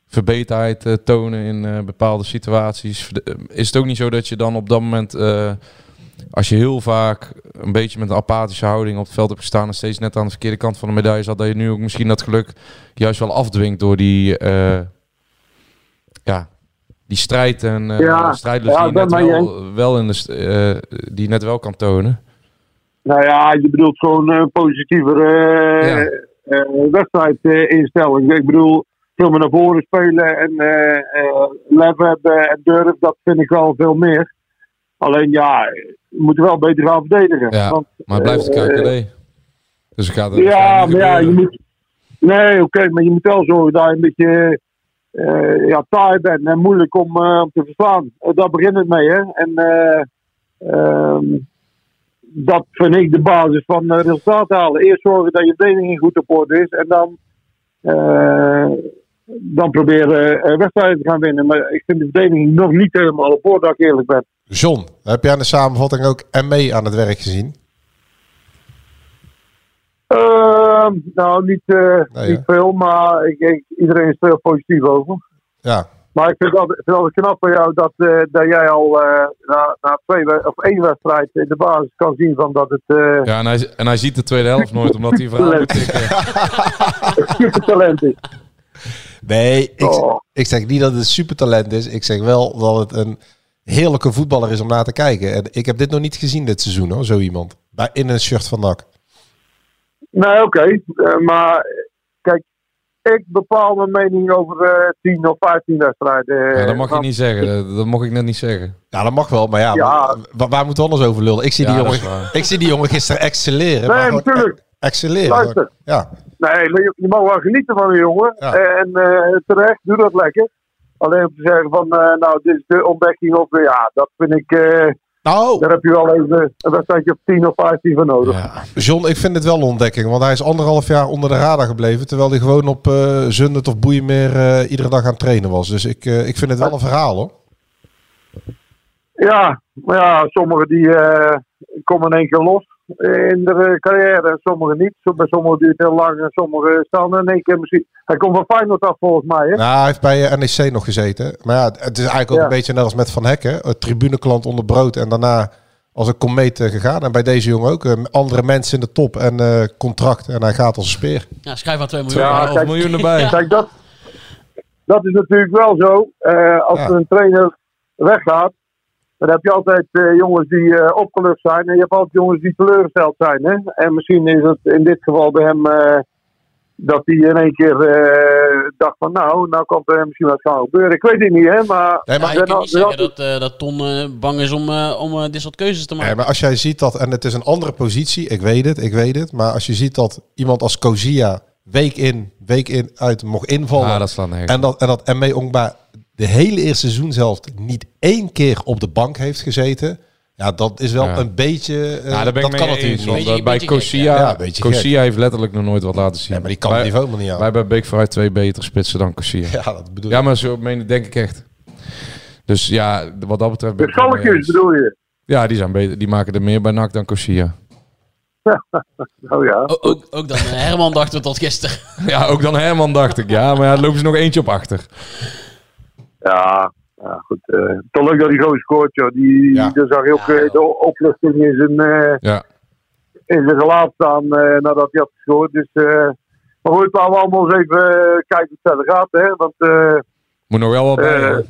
S2: verbeterheid eh, tonen in eh, bepaalde situaties. Verde- eh, Is het ook niet zo dat je dan op dat moment... eh, als je heel vaak een beetje met een apathische houding op het veld hebt gestaan... en steeds net aan de verkeerde kant van de medaille zat... dat je nu ook misschien dat geluk juist wel afdwingt door die... eh, ja, die strijd en eh
S1: Ja,
S2: strijdlust
S1: ja,
S2: die, je
S1: ik
S2: net
S1: ben het mee
S2: wel, wel in de, st- eh, die je net wel kan tonen.
S1: Nou ja, je bedoelt gewoon een positievere eh, eh, wedstrijdinstelling. ik bedoel, veel meer naar voren spelen en eh eh, lef hebben en durf, dat vind ik wel veel meer. Alleen ja, we moeten wel beter gaan verdedigen.
S2: Ja,
S1: Want,
S2: maar het blijft de
S1: eh,
S2: KKD. dus ik ga er
S1: ja, maar ja, je moet. Nee, oké, maar je moet wel zorgen dat je een beetje eh, ja, taai bent en moeilijk om, eh, om te verslaan. Eh, Daar begint het mee, hè? En eh, ehm, dat vind ik de basis van eh, resultaat halen. Eerst zorgen dat je verdediging goed op orde is en dan, eh, dan proberen eh, wedstrijden te gaan winnen. Maar ik vind de verdediging nog niet helemaal op orde, als ik eerlijk ben.
S6: John, heb jij aan de samenvatting ook ME aan het werk gezien?
S1: Ehm, nou, niet, eh,
S6: Nee,
S1: niet veel, maar ik, ik- iedereen is er heel positief over.
S6: Ja.
S1: Maar ik vind het altijd, ik vind het altijd knap van jou dat, eh, dat jij al eh, na, na twee we- of één wedstrijd in de basis kan zien van dat het eh
S2: Ja, en hij, en hij ziet de tweede helft nooit, omdat hij verhaal moet tikken.
S1: supertalent is.
S6: Nee, ik,
S1: Oh.
S6: ik zeg niet dat het supertalent is. Ik zeg wel dat het een heerlijke voetballer is om naar te kijken. En ik heb dit nog niet gezien dit seizoen, hoor, zo iemand. Bij, in een shirt van NAC.
S1: Nee, oké. Eh, maar eh, kijk, ik bepaal mijn mening over eh 10 of 15 wedstrijden. eh,
S2: Ja, dat mag je
S1: want-
S2: niet zeggen. Dat, dat mocht ik net niet zeggen.
S6: Ja, dat mag wel, maar ja,
S1: Ja.
S6: wa- Waar, moeten we anders over lullen? Ik zie,
S2: Ja,
S6: die
S2: dat
S6: jongen, Eh,
S2: is waar.
S6: ik zie die jongen gisteren excelleren.
S1: Nee,
S6: maar gewoon
S1: natuurlijk.
S6: e- Excelleren.
S1: Luister.
S6: Ja.
S1: Nee, maar je, je mag wel genieten van een jongen.
S6: Ja.
S1: En eh, terecht, doe dat lekker. Alleen om te zeggen van, eh, nou, dit is de ontdekking. Of, eh, ja, dat vind ik... eh,
S6: Nou,
S1: Daar heb je wel even een wedstrijdje op 10 of 15 van nodig.
S6: John, ik vind het wel een ontdekking. Want hij is anderhalf jaar onder de radar gebleven. Terwijl hij gewoon op eh Zundert of Boeimeer eh, iedere dag aan het trainen was. Dus ik, eh, ik vind het wel een verhaal hoor.
S1: Ja, maar ja, sommigen die eh, komen in één keer los in de eh, carrière en sommigen niet. Zo- Bij sommigen duurt het heel lang en sommigen staan in één keer misschien. Hij komt van Feyenoord af volgens mij, hè?
S6: Nou, hij heeft bij eh, NEC nog gezeten. Maar ja, het is eigenlijk ook
S1: Ja.
S6: een beetje net als met Van Hekken. Het tribuneklant onder brood en daarna als een komeet eh, gegaan. En bij deze jongen ook. eh, andere mensen in de top en eh, contract. En hij gaat als een speer.
S5: Ja, schrijf maar 2 miljoen.
S2: Ja,
S1: kijk.
S2: miljoen erbij.
S1: Kijk, dat, dat is natuurlijk wel zo. Eh, als
S6: Ja.
S1: een trainer weggaat, dan heb je altijd eh, jongens die eh, opgelucht zijn. En je hebt altijd jongens die teleurgesteld zijn. Hè? En misschien is het in dit geval bij hem eh, dat hij in één keer eh, dacht van nou, nou kan er misschien wat gaan gebeuren. Ik weet het niet, hè. Maar,
S6: Nee,
S5: Ja,
S6: maar,
S5: ik kan niet
S1: er zijn
S5: zeggen dat, eh, dat Ton eh, bang is om, eh, om eh, dit soort keuzes te maken.
S6: nee, maar als jij ziet dat, en het is een andere positie. Ik weet het, ik weet het. Maar als je ziet dat iemand als Kozia week in, week in uit mocht invallen.
S2: Ja, Ah, dat slaat nergens
S6: En dat, en dat ME Ongba de hele eerste seizoen zelf niet één keer op de bank heeft gezeten. Ja, dat is wel
S2: Ja.
S6: een beetje... eh,
S2: Ja, daar ben
S6: dat
S2: ik
S6: kan
S2: mee eens.
S6: natuurlijk niet.
S2: want
S5: Beetje-
S2: dat bij
S5: beetje gek,
S2: Cosia,
S6: ja. Ja, beetje gek.
S2: Cosia heeft letterlijk nog nooit wat laten zien.
S6: Ja, maar die kan het
S2: wij,
S6: niveau helemaal niet aan.
S2: Wij bij Beek vooruit twee betere spitsen dan Cosia. Ja,
S6: Ja, dat bedoel ik.
S2: maar zo meen ik denk ik echt. Dus ja, wat dat betreft... ben
S1: De
S2: ik wel mee
S1: schalkjes
S2: eens.
S1: bedoel Dus je?
S2: Ja, die, zijn beter, die maken er meer bij NAC dan Cosia.
S1: Oh ja.
S5: O- ook, ook dan eh, Herman dachten we tot gisteren. [LAUGHS]
S2: Ja, ook dan Herman dacht ik. Ja, maar ja, daar lopen ze nog eentje op achter.
S1: Ja, ja goed. eh toch leuk dat hij zo scoort, joh. Die,
S6: Ja.
S1: Daar zag je ook eh, de opluchting in zijn... eh,
S2: Ja.
S1: in zijn gelaat staan eh, nadat hij had gescoord. Dus, eh, maar goed, laten we allemaal eens even eh, kijken hoe het verder gaat. Hè? Want eh,
S2: Moet nog wel wat bij.
S1: Eh,
S2: hoor.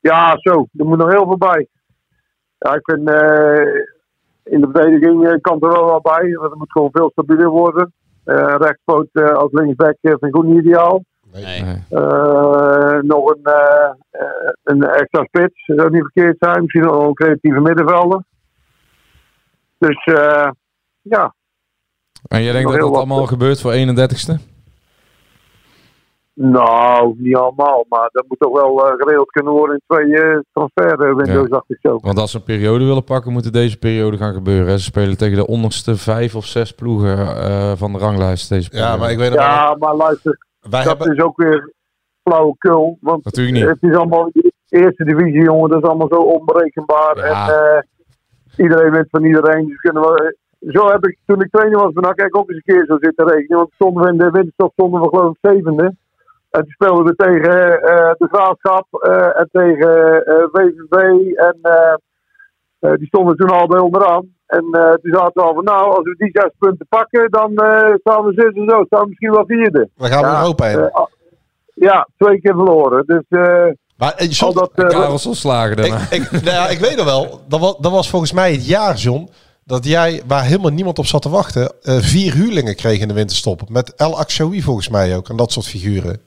S1: ja, zo, er moet nog heel veel bij. Ja, ik vind eh, in de verdediging eh, kan er wel wat bij, want het moet gewoon veel stabieler worden. Eh rechtspoot eh, als linksback eh, vind ik ook niet ideaal. Eh, nog een, eh, eh, een extra spits, zou niet verkeerd zijn. Misschien nog wel een creatieve middenvelder. Dus eh, ja,
S2: En jij denkt
S1: Nog
S2: dat
S1: heel
S2: dat
S1: wat,
S2: allemaal gebeurt voor 31ste?
S1: nou, niet allemaal. Maar dat moet toch wel eh, geregeld kunnen worden in twee eh, transferwindows,
S2: Ja.
S1: dacht ik zo.
S2: Want als ze een periode willen pakken, moet het deze periode gaan gebeuren. hè. Ze spelen tegen de onderste vijf of zes ploegen eh, van de ranglijst deze periode.
S6: Ja, maar ik weet nog wel-
S1: Ja, maar luister,
S6: Wij
S1: dat is ook weer flauwekul. Want
S2: Natuurlijk niet.
S1: het is allemaal eerste divisie, jongen. Dat is allemaal zo onberekenbaar. En eh, iedereen weet van iedereen. Dus kunnen we, zo heb ik, toen ik trainer was van AKK ook eens een keer zo zitten rekenen. Want stonden we in de winterstop stonden we geloof ik zevende. En toen speelden we tegen eh, de Graafschap eh, en tegen eh VVV. En eh, eh, die stonden toen al bij onderaan. En eh, toen zaten we al van, nou, als we die zes punten pakken, dan eh, staan we zus en zo. Staan we misschien wel vierde.
S6: Dan gaan we Europa in.
S1: eh, ah, ja, twee keer verloren. Dus eh,
S6: Maar eh,
S1: al
S6: John,
S1: dat... eh,
S2: Karels ontslagen daarna.
S6: ik, ik, nou ja, ik weet nog wel, dat was, dat was volgens mij het jaar, John, dat jij, waar helemaal niemand op zat te wachten, eh, vier huurlingen kreeg in de winterstop. Met El Akshoui volgens mij ook, en dat soort figuren.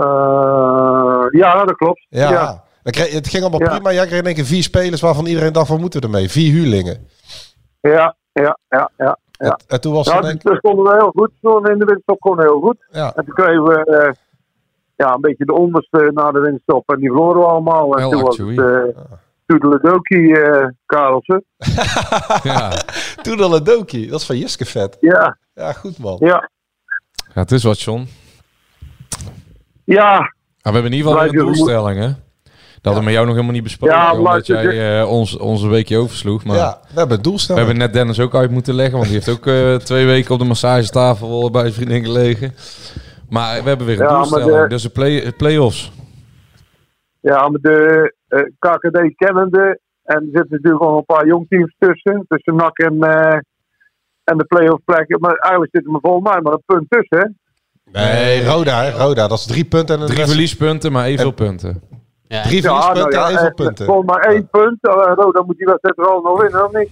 S1: eh, ja, dat klopt.
S6: Ja,
S1: ja.
S6: Dan kreeg, het ging allemaal
S1: Ja.
S6: prima. Jij kreeg in één keer vier spelers waarvan iedereen dacht, wat moeten we ermee? Vier huurlingen.
S1: Ja, ja, ja, ja.
S6: En, en toen was
S1: Ja,
S6: het
S1: dus
S6: in één
S1: we stonden wel heel goed. We stonden in de winterstop gewoon heel goed.
S6: Ja.
S1: En toen kregen we eh, ja, een beetje de onderste na de winterstop. En die verloren we allemaal. En
S2: Wel,
S1: toen was het
S2: actually.
S1: uh, Toedeledoki eh, Karelsen.
S2: [LAUGHS] Ja.
S6: Toen al een dokie. Dat is van Jiske vet.
S1: Ja,
S6: Ja, goed man.
S1: ja.
S2: ja, het is wat, John.
S1: Ja,
S2: Maar we hebben in ieder geval weer een
S1: Blijf je
S2: doelstelling, hè? Dat hadden we met jou nog helemaal niet besproken,
S1: Ja,
S2: omdat
S1: blijf je-
S2: jij eh, ons, onze weekje oversloeg. Maar
S6: Ja, we hebben een
S2: we
S6: doelstelling.
S2: hebben net Dennis ook uit moeten leggen, want die heeft ook eh, twee weken op de massagetafel bij zijn vriendin gelegen. Maar we hebben weer een
S1: Ja, maar
S2: doelstelling,
S1: de-
S2: dus de play, play-offs.
S1: ja, maar de eh, KKD kennende. En er zitten natuurlijk nog een paar jongteams tussen. Tussen NAC en, eh, en de play-off plekken. Maar eigenlijk zitten we volgens mij maar een punt tussen. Hè?
S6: Nee, Roda, hè. Roda. Dat is drie punten en een
S2: Drie
S6: rest-
S2: verliespunten, maar evenveel punten.
S5: Ja,
S6: drie verliespunten en evenveel
S1: eh,
S6: punten.
S1: Volgens mij één punt. Eh, Roda moet die wedstrijd er al nog winnen, of niet?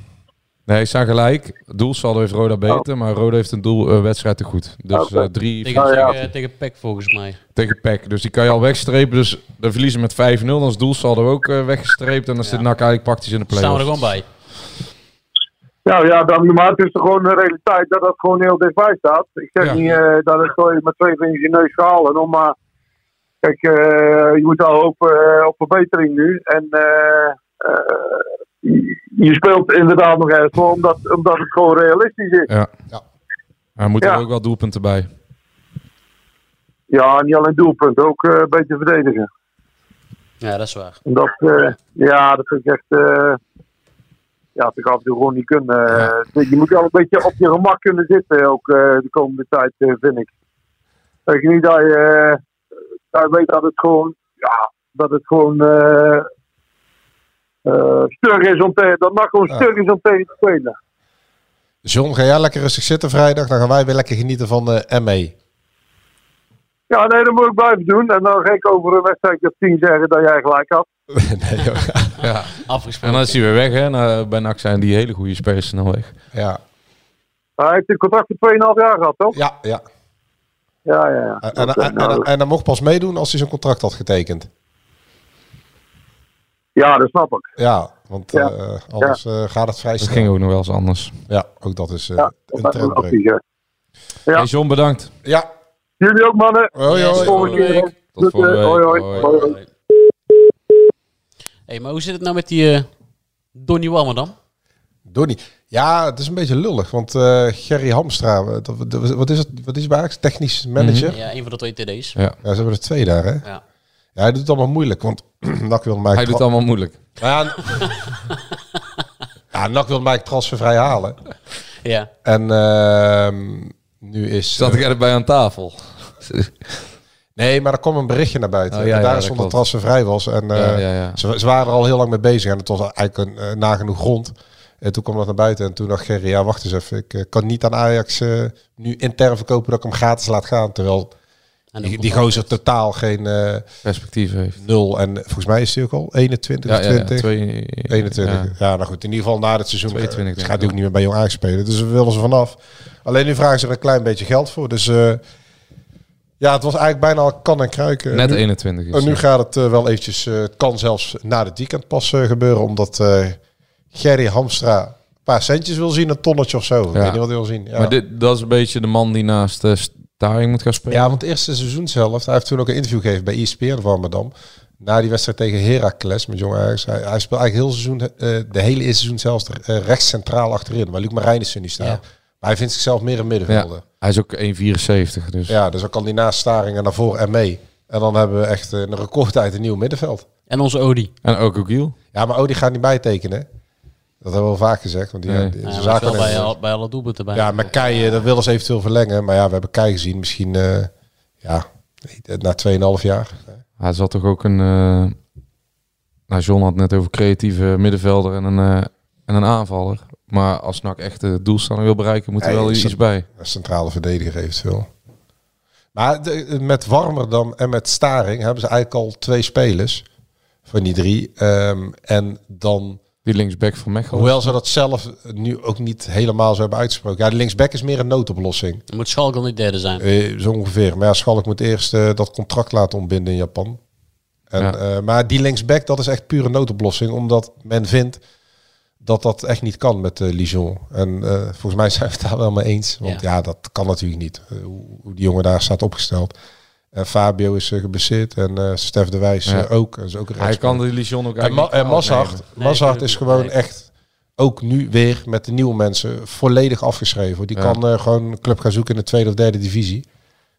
S2: Nee, ze zijn gelijk. Doelsaldo heeft Roda beter, maar Roda heeft een doel, eh, wedstrijd te goed. Dus
S1: Oh. Oké.
S2: eh, drie
S5: tegen,
S1: Oh, ja.
S5: tegen, tegen PEC volgens mij.
S2: tegen PEC. Dus die kan je al wegstrepen. Dus dan verliezen met 5-0, dan is doelsaldo ook eh, weggestreept. En dan zit
S5: Ja.
S2: NAC eigenlijk praktisch in de
S5: Staan we er
S2: play-offs.
S5: gewoon bij.
S1: Nou ja, dan, maar het is toch gewoon een realiteit dat dat gewoon heel dichtbij staat. Ik zeg
S2: Ja.
S1: niet eh, dat het gewoon met twee vingers in je neus gaat halen, hoor, maar kijk, eh, je moet al hopen eh, op verbetering nu. En eh, eh, je- je speelt inderdaad nog ergens voor, omdat, omdat het gewoon realistisch is.
S2: Ja.
S6: Ja.
S2: Maar er moeten
S1: Ja.
S2: er ook wel doelpunten bij.
S1: Ja, niet alleen doelpunt, ook eh, beter verdedigen.
S5: Ja, dat is waar.
S1: En dat, eh, ja, dat vind ik echt... eh, ja, dat vind ik af en toe gewoon niet kunnen. Eh, Je moet wel een beetje op je gemak kunnen zitten ook eh, de komende tijd, eh, vind ik. Dat je niet dat je, eh, dat je weet dat het gewoon, ja, dat het gewoon eh eh, stug is om tegen, dat mag gewoon
S6: Ja.
S1: stug is om tegen te spelen.
S6: John, ga jij lekker rustig zitten vrijdag. Dan gaan wij weer lekker genieten van eh, de ME.
S1: Ja, nee, dat moet ik blijven doen. En dan ga ik over een wedstrijd op 10 zeggen dat jij gelijk had.
S6: [LAUGHS] nee, joh.
S2: Ja. En
S5: Afgesproken.
S2: dan is hij weer weg, hè? Nou, bij NAC zijn die hele goede spelers snel weg.
S6: ja.
S1: Hij heeft een contract voor 2,5 jaar gehad, toch?
S6: ja, ja.
S1: Ja, ja, ja.
S6: En, en,
S1: Oké,
S6: en,
S1: nou,
S6: en, en hij mocht pas meedoen als hij zijn contract had getekend.
S1: ja, dat snap ik.
S6: Ja, want
S1: Ja.
S6: eh, anders eh, gaat het vrij
S2: Dat
S6: snel.
S2: ging ook nog wel eens anders.
S6: Ja, ook dat is eh,
S1: Ja,
S6: een
S1: dat is een
S6: trendbreuk.
S1: optie, ja. Ja.
S2: Hey John, bedankt.
S6: Ja, Oh,
S1: Jullie ook, mannen.
S6: hoi hoi.
S1: Volgende
S2: hoi.
S1: keer.
S2: Tot volgende
S1: Groeten.
S2: week.
S1: Hoi, hoi. hoi.
S5: Hey, maar hoe zit het nou met die eh Donny Walmer dan?
S6: Donnie. Ja, het is een beetje lullig, want eh Gerry Hamstra, eh, dat- dat- wat is het? Wat is het eigenlijk? Technisch manager?
S2: Mhm.
S5: Ja, een van de twee TD's.
S6: Ja, ze hebben er twee daar, hè?
S5: Ja.
S6: Ja, hij doet het allemaal moeilijk, want [CLEARS THROAT] NAC wil mij
S2: Hij doet het allemaal moeilijk.
S6: Ja, ja, NAC wil mij transfervrij halen.
S5: Ja.
S6: En ehm, nu is... eh,
S2: Zat ik erbij aan
S5: [LAUGHS]
S2: tafel?
S6: Nee, maar er kwam een berichtje naar buiten.
S2: Oh, ja,
S6: en
S2: ja,
S6: daar
S2: dat
S6: stond dat
S2: klopt.
S6: transfervrij was. En eh,
S2: Ja, ja, ja.
S6: Ze, ze waren er al heel lang mee bezig. En het was eigenlijk een, eh, nagenoeg rond. En toen kwam dat naar buiten. En toen dacht Gerry, ja, wacht eens even. Ik eh, kan niet aan Ajax eh, nu intern verkopen dat ik hem gratis laat gaan. Terwijl
S5: En
S6: die,
S5: ook
S6: die
S5: nog-
S6: gozer totaal geen eh,
S2: Perspectief heeft.
S6: nul. En volgens mij is hij ook al 21
S2: Ja,
S6: of
S2: ja, ja,
S6: 20.
S2: twee-
S6: 21. Ja.
S2: ja.
S6: nou goed. In ieder geval na het seizoen eh,
S2: 22
S6: 22,
S2: denk ik
S6: gaat hij
S2: wel.
S6: ook niet meer bij Jong Ajax spelen. Dus we willen ze vanaf. Alleen nu vragen ze er een klein beetje geld voor. Dus eh, Ja, het was eigenlijk bijna al kan en kruiken.
S2: Net
S6: Nu-
S2: 21 is
S6: En nu
S2: het.
S6: gaat het eh, wel eventjes, eh, het kan zelfs na het weekend pas eh, gebeuren, omdat eh Gerry Hamstra een paar centjes wil zien, een tonnetje of zo. Ik weet niet wat hij wil zien. Ja.
S2: Maar dit, dat is een beetje de man die naast eh Staring moet gaan spelen.
S6: Ja, want het eerste seizoen zelf, hij heeft toen ook een interview gegeven bij E ESPN van Madam. Na die wedstrijd tegen Heracles met Jong Ajax. Hij, hij speelt eigenlijk heel seizoen, eh, de hele eerste seizoen zelfs eh, rechts centraal achterin. Waar Luc Marijnissen niet staat.
S2: Ja.
S6: Maar hij vindt zichzelf meer een
S2: Ja,
S6: middenvelder.
S2: hij is ook 1,74. Dus.
S6: Ja, dus dan kan hij naast Staringen naar voren en mee. En dan hebben we echt eh, een recordtijd een nieuw middenveld.
S5: En onze Odi.
S2: En ook Ogiel.
S6: Ja, maar Odi gaat niet bijtekenen. hè? Dat hebben we al vaak gezegd. Want die,
S2: Nee.
S6: die-
S5: Nou Ja,
S6: ze
S5: maar
S6: zaten
S5: wel bij,
S6: net-
S5: al- bij alle doelpunten bij.
S6: ja, maar Kei, eh, dat willen ze eventueel verlengen. Maar ja, we hebben Kei gezien. Misschien eh, ja, na 2,5 jaar.
S2: Hij zat toch ook een... eh, nou, John had het net over creatieve middenvelder en een, eh, en een aanvaller. Maar als NAC echt de doelstelling wil bereiken, moet er
S6: Hey,
S2: wel
S6: cent-
S2: iets bij.
S6: een centrale verdediger eventueel. Maar de- met Warmerdam en met Staring hebben ze eigenlijk al twee spelers van die drie. Ehm, en dan,
S2: Die linksback van Mechelen.
S6: hoewel ze dat zelf nu ook niet helemaal zo hebben uitgesproken. Ja, de linksback is meer een noodoplossing.
S5: Dan moet Schalke al niet derde zijn.
S6: Eh, zo ongeveer. Maar ja, Schalk moet eerst eh, dat contract laten ontbinden in Japan. En,
S2: Ja.
S6: eh, maar die linksback, dat is echt pure noodoplossing. Omdat men vindt dat dat echt niet kan met eh Lijon. En eh, volgens mij zijn we het daar wel mee eens. Want ja, dat kan natuurlijk niet. eh, hoe, hoe die jongen daar staat opgesteld. En Fabio is eh, geblesseerd. En eh, Stef de Wijs
S2: Ja.
S6: eh, ook. Dat is ook een
S2: Hij kan de
S6: rechtsback.
S2: Lijon ook
S6: En, Ma
S2: eigenlijk
S6: en
S2: niet kwalijk
S6: Mazhart,
S2: nemen.
S6: Mazhart is gewoon echt, ook nu weer met de nieuwe mensen, volledig afgeschreven. hoor. Die
S2: Ja.
S6: kan eh, gewoon een club gaan zoeken in de tweede of derde divisie.